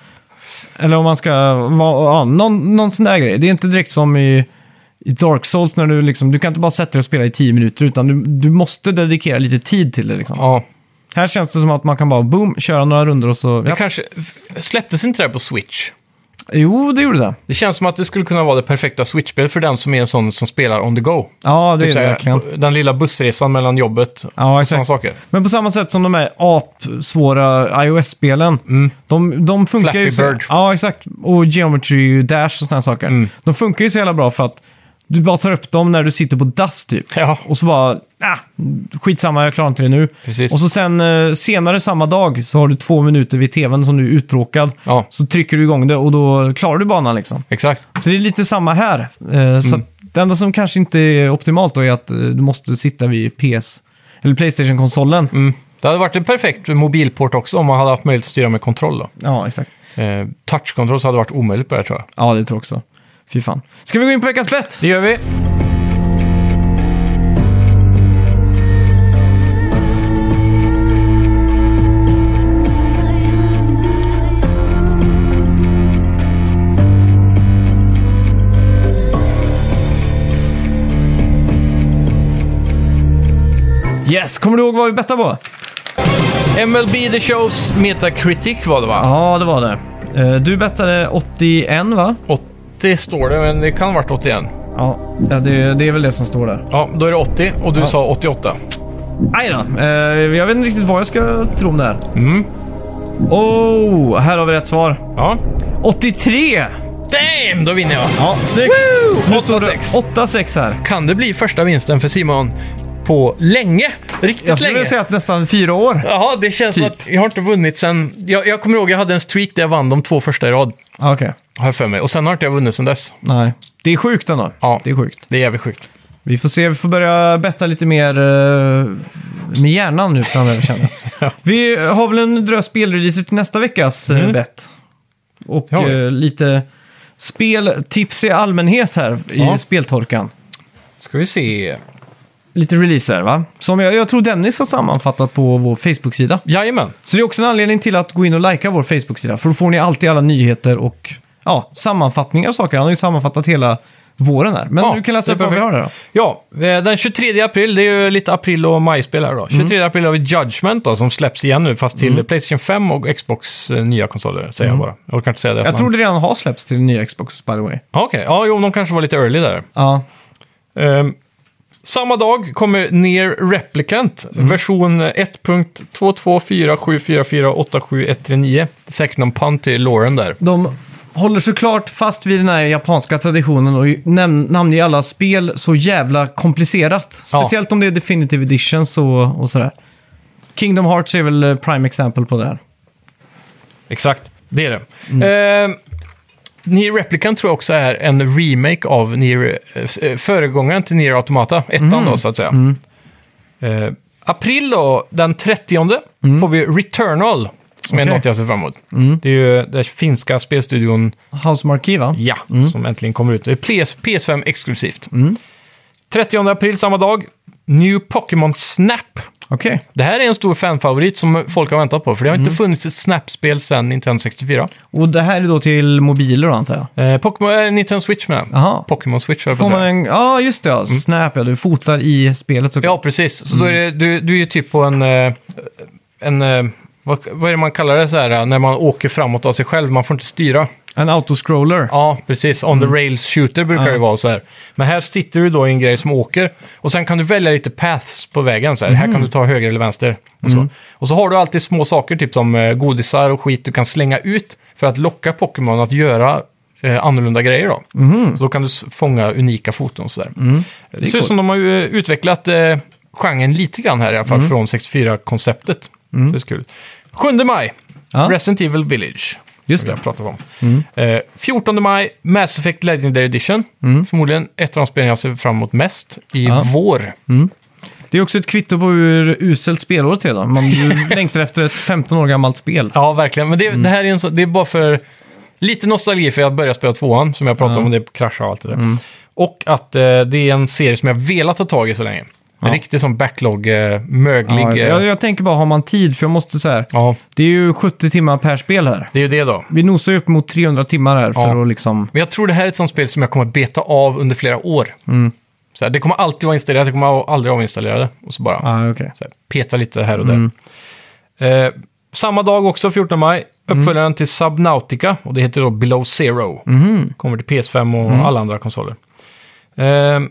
S1: Eller om man ska vara, ja, någon, någon sån där grej. Det är inte direkt som i, i Dark Souls när du liksom, du kan inte bara sätta dig och spela i 10 minuter utan du, du måste dedikera lite tid till det liksom.
S2: ja.
S1: Här känns det som att man kan bara boom, köra några rundor och så...
S2: Det
S1: Ja.
S2: kanske... f- Släpptes inte det här på Switch?
S1: Jo, det gjorde det.
S2: Det känns som att det skulle kunna vara det perfekta Switch-spel för den som är en sån som spelar on the go.
S1: Ja, det
S2: Typ
S1: är det
S2: såhär,
S1: verkligen.
S2: på- Den lilla bussresan mellan jobbet och
S1: Ja,
S2: sådana
S1: exakt.
S2: saker.
S1: Men på samma sätt som de här apsvåra iOS-spelen. De, de funkar
S2: Flappy
S1: ju... så-
S2: Bird.
S1: Ja, exakt. Och Geometry Dash och sådana saker. De funkar ju så jävla bra för att du bara tar upp dem när du sitter på dass typ.
S2: Ja.
S1: Och så bara, ah, skitsamma, jag klarar inte det nu.
S2: Precis.
S1: Och så sen eh, senare samma dag så har du två minuter vid tvn som du är uttråkad.
S2: Ja.
S1: Så trycker du igång det och då klarar du banan liksom.
S2: Exakt.
S1: Så det är lite samma här. Eh,
S2: Mm.
S1: Så att det enda som kanske inte är optimalt då är att eh, du måste sitta vid PS, eller Playstation-konsolen.
S2: Mm. Det hade varit en perfekt mobilport också om man hade haft möjlighet att styra med kontroll. Då.
S1: Ja, exakt.
S2: Eh, touchkontroll så hade varit omöjligt på det här tror jag.
S1: Ja, det tror jag också. Fy fan. Ska vi gå in på veckans bett?
S2: Det gör vi.
S1: Yes! Kommer du ihåg vad vi bettade på?
S2: MLB The Shows Metacritic var det va?
S1: Ja, det var det. Eh, Du bettade 81, va?
S2: 80 står det, men det kan ha varit 81.
S1: Ja, ja, det, det är väl det som står där.
S2: Ja, då är det 80 och du sa 88.
S1: Aj då. Eh, Jag vet inte riktigt vad jag ska tro om det här. Oh, här har vi rätt svar.
S2: Ja.
S1: 83!
S2: Damn, då vinner jag!
S1: Ja, snyggt!
S2: Woo!
S1: Så nu står det
S2: 8-6.
S1: 8-6 här.
S2: Kan det bli första vinsten för Simon på länge. Riktigt
S1: Jag skulle
S2: länge.
S1: säga att nästan fyra år.
S2: Jaha, det känns som
S1: Typ.
S2: att jag har inte vunnit sen... Jag, jag kommer ihåg jag hade en streak där jag vann de två första i rad.
S1: Ah, Okej,
S2: Har jag för mig. Och sen har inte jag vunnit sen dess.
S1: nej. Det är sjukt ändå.
S2: Ja.
S1: Det är sjukt.
S2: Det är jävligt sjukt.
S1: Vi får se, vi får börja betta lite mer eh, med hjärnan nu framöver känner jag. Vi har väl en drös spelreleaser till nästa veckas eh, bett. Och
S2: Ja.
S1: eh, lite speltips i allmänhet här i
S2: Ja.
S1: speltorkan.
S2: Ska vi se.
S1: Lite releaser va? Som jag, jag tror Dennis har sammanfattat på vår Facebook-sida.
S2: Jajamän.
S1: Så det är också en anledning till att gå in och likea vår Facebook-sida. För då får ni alltid alla nyheter och ja, sammanfattningar och saker. Han har ju sammanfattat hela våren här. Men
S2: Ja,
S1: du kan
S2: det
S1: läsa
S2: är
S1: upp vad vi har
S2: perfekt.
S1: där då.
S2: Ja, eh, den 23 april, det är ju lite april och majspel här då. 23 april har vi Judgment då, som släpps igen nu, fast till Playstation 5 och Xbox eh, nya konsoler, säger jag bara. Jag orkar inte säga det.
S1: Jag tror det redan har släppts till nya Xbox by the way.
S2: Okej, ja, jo, de kanske var lite early där.
S1: Ja,
S2: Ehm, samma dag kommer Near Replicant, version 1.22474487139. Det är Säkert någon pant till Lauren där.
S1: de håller såklart fast vid den här japanska traditionen och näm- namnger alla spel så jävla komplicerat.
S2: Ja.
S1: Speciellt om det är definitive editions och, och sådär. Kingdom Hearts är väl eh, prime exempel på det här.
S2: Exakt, det är det. Ehm, Nier Replicant tror jag också är en remake av Nier, eh, föregångaren till Nier Automata, ettan då så att säga. Ehm, april då, den 30 får vi Returnal, som är
S1: Okej.
S2: något jag ser fram emot. Det är ju den finska spelstudion
S1: House Marquee va?
S2: Ja, som äntligen kommer ut. Det är PS, PS5 exklusivt.
S1: Mm.
S2: 30 april samma dag, New Pokémon Snap.
S1: Okej.
S2: Det här är en stor fanfavorit som folk har väntat på, för det har
S1: Mm.
S2: inte funnits ett Snap-spel sedan Nintendo 64.
S1: Och det här är då till mobiler då, antar jag?
S2: Eh, Pokémon, eh, Nintendo Switch med.
S1: Jaha.
S2: Pokémon Switch, höll jag på
S1: Får
S2: att
S1: man
S2: säga.
S1: en... Ja, just det. Ja. Snap, ja. Du fotar i spelet såklart.
S2: Mm. Ja, precis. Så då är det, du, du är ju typ på en... eh, en eh, vad, vad är det man kallar det så här, eh, när man åker framåt av sig själv? Man får inte styra.
S1: En autoscroller.
S2: Ja, precis. On the rails shooter brukar det
S1: Mm. Ja.
S2: vara så här. Men här sitter du då i en grej som åker och sen kan du välja lite paths på vägen. Så här. här kan
S1: Mm.
S2: du ta höger eller vänster. Och så. och så har du alltid små saker, typ som eh, godisar och skit du kan slänga ut för att locka Pokémon att göra eh, annorlunda grejer då.
S1: Mm.
S2: Så då kan du s- fånga unika foton och sådär. Det, ser ut som de har ju, eh, utvecklat eh, genren lite grann här i alla fall
S1: Mm.
S2: från 64-konceptet. Det är så kul. 7 maj,
S1: Ja.
S2: Resident Evil Village.
S1: Just
S2: Som vi har pratat om.
S1: Mm.
S2: Eh, 14 maj, Mass Effect Legendary Edition. Förmodligen ett av de spelen jag ser fram emot mest i
S1: Mm. Ja. Mm.
S2: vår.
S1: Det är också ett kvitto på hur uselt spelåret är då. Man ju längtar efter ett 15 år gammalt spel.
S2: Ja, verkligen. Men det,
S1: Mm.
S2: det här är, en så, det är bara för lite nostalgi för jag började spela tvåan, som jag pratade om, och det kraschade och allt det där.
S1: Mm.
S2: Och att eh, det är en serie som jag velat ta tag i så länge. En riktig som backlog, eh, möglig.
S1: Ja,
S2: eh,
S1: jag, jag tänker bara, har man tid? För jag måste så här...
S2: ja,
S1: Det är ju 70 timmar per spel här.
S2: det är ju det då.
S1: Vi nosar ju upp mot 300 timmar här
S2: Ja.
S1: för att liksom...
S2: Men jag tror det här är ett sånt spel som jag kommer beta av under flera år.
S1: Mm.
S2: Så här, det kommer alltid vara installerat, det kommer aldrig avinstallera det. Och så bara
S1: Ah, okej.
S2: så här, peta lite här och där. Eh, samma dag också, 14 maj, uppföljaren till Subnautica. Och det heter då Below Zero. Kommer till PS5 och alla andra konsoler. Eh,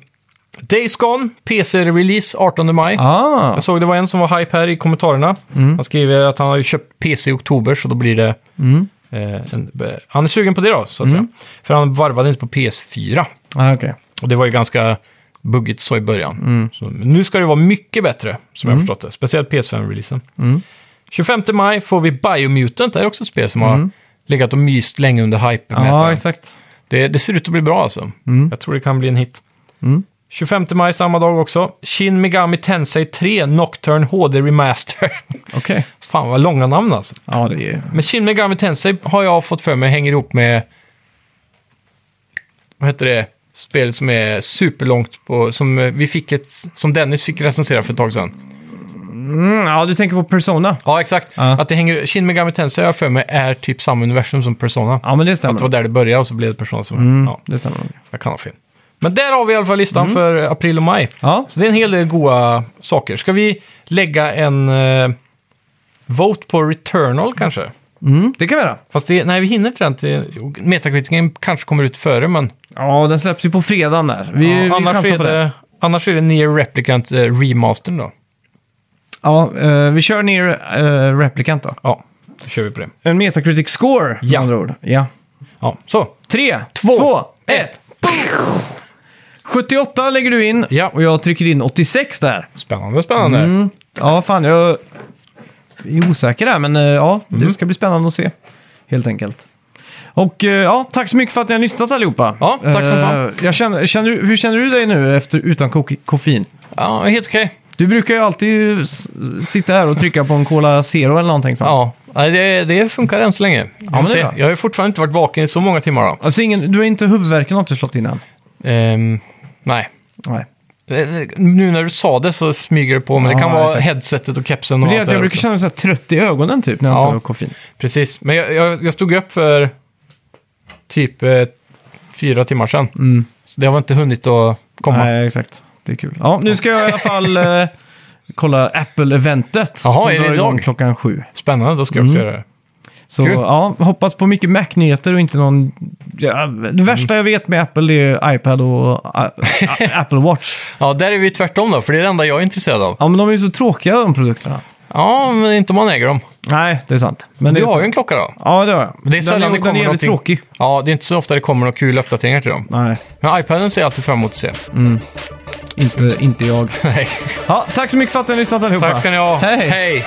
S2: Days Gone, PC-release 18 maj.
S1: Ah,
S2: Jag såg det var en som var hype här i kommentarerna. Han skriver att han har ju köpt PC i oktober, så då blir det... Eh, en, be- han är sugen på det då, så att säga. För han varvade inte på PS4.
S1: ah okej.
S2: Och det var ju ganska buggigt så i början.
S1: Mm.
S2: Så, men nu ska det vara mycket bättre, som jag har förstått det. Speciellt PS5-releasen.
S1: Mm.
S2: 25 maj får vi Biomutant. Det här är också ett spel som har legat och myst länge under hype.
S1: Mm. Ja, exakt. Mm.
S2: det, det ser ut att bli bra alltså. Jag tror det kan bli en hit. 25 maj samma dag också. Shin Megami Tensei 3 Nocturne HD Remaster.
S1: Okej.
S2: Fan vad långa namn alltså.
S1: Ja, det är ju...
S2: Men Shin Megami Tensei har jag fått för mig hänger ihop med... Vad heter det? Spel som är superlångt på... Som eh, vi fick ett... Som Dennis fick recensera för ett tag sedan.
S1: Mm, ja, du tänker på Persona.
S2: Ja, exakt.
S1: Ja.
S2: Att det hänger... Shin Megami Tensei har jag för mig är typ samma universum som Persona.
S1: Ja, men det
S2: Att det var
S1: stämmer.
S2: där det började och så blev det Persona som... Ja,
S1: Det stämmer nog.
S2: jag kan ha fel. Men där har vi i alla fall listan för april och maj.
S1: Ja,
S2: Så det är en hel del goda saker. Ska vi lägga en... Eh, vote på Returnal kanske?
S1: mm, det kan vi göra.
S2: Fast det, nej, vi hinner inte den till... Metakritiken kanske kommer ut före, men...
S1: Ja, den släpps ju på fredagen där. Vi,
S2: ja,
S1: vi
S2: annars,
S1: chansar
S2: är
S1: på det.
S2: det, annars är det Near Replicant eh, remastern då.
S1: Ja, eh, vi kör ner eh, Replicant då.
S2: Ja, då kör vi på det.
S1: En Metacritic score, med
S2: Ja.
S1: andra ord. Ja.
S2: Ja, så.
S1: Tre,
S2: Två,
S1: två ett. 78 lägger du in
S2: Ja.
S1: och jag trycker in 86 där.
S2: Spännande, spännande.
S1: Mm. Ja, fan jag är osäker där, men eh, ja,
S2: Mm.
S1: det ska bli spännande att se. Helt enkelt. Och eh, ja, tack så mycket för att ni har lyssnat allihopa.
S2: Ja, tack som
S1: Eh,
S2: fan.
S1: Jag känner, känner, du- hur känner du dig nu efter, utan ko- koffein?
S2: Ja, helt okej.
S1: Du brukar ju alltid s- sitta här och trycka på en Cola Zero eller någonting sånt.
S2: Ja, nej, det, det funkar än så länge. Vi får
S1: men det är
S2: se.
S1: bra.
S2: jag har ju fortfarande inte varit vaken i så många timmar. Då.
S1: Alltså ingen, du har inte huvudvärk eller något du slått in än?
S2: Ehm, nej.
S1: Nej.
S2: Eh, Nu när du sa det så smyger det på, men
S1: Ja,
S2: det kan vara
S1: exakt.
S2: headsetet och kepsen och
S1: Men det är
S2: allt
S1: att
S2: det
S1: jag
S2: där
S1: brukar
S2: också.
S1: känna mig så här trött i ögonen typ när jag
S2: Ja.
S1: inte har koffein.
S2: Precis, men jag, jag, jag stod upp för typ eh, fyra timmar sedan. Så det har väl inte hunnit att komma.
S1: Mm. Nej, exakt. Det är kul. Ja, nu ska jag i alla fall eh, kolla Apple-eventet.
S2: Jaha,
S1: som
S2: är det
S1: drar
S2: idag?
S1: igång klockan sju.
S2: Spännande, då ska jag också
S1: Mm.
S2: göra det.
S1: Så
S2: Kul.
S1: ja, hoppas på mycket Mac-nyheter och inte någon... Ja, det värsta jag vet med Apple är iPad och ä, ä, Apple Watch.
S2: Ja, där är vi tvärtom då, för det är det enda jag är intresserad av.
S1: Ja, men de är ju så tråkiga de produkterna.
S2: Ja, men inte om man äger dem.
S1: Nej, det är sant. Men
S2: Du
S1: det är
S2: har
S1: sant.
S2: ju en klocka då.
S1: Ja, det har jag.
S2: Det är sällan
S1: den
S2: det
S1: är, den
S2: kommer
S1: är jävligt
S2: någonting.
S1: tråkig.
S2: Ja, det är inte så ofta det kommer några kul uppdateringar till dem.
S1: Nej,
S2: Men iPaden ser jag alltid fram emot att se.
S1: inte, inte jag.
S2: Nej.
S1: Ja, tack så mycket för att ni har lyssnat allihopa.
S2: Tack ska ni ha.
S1: Hej.
S2: Hej.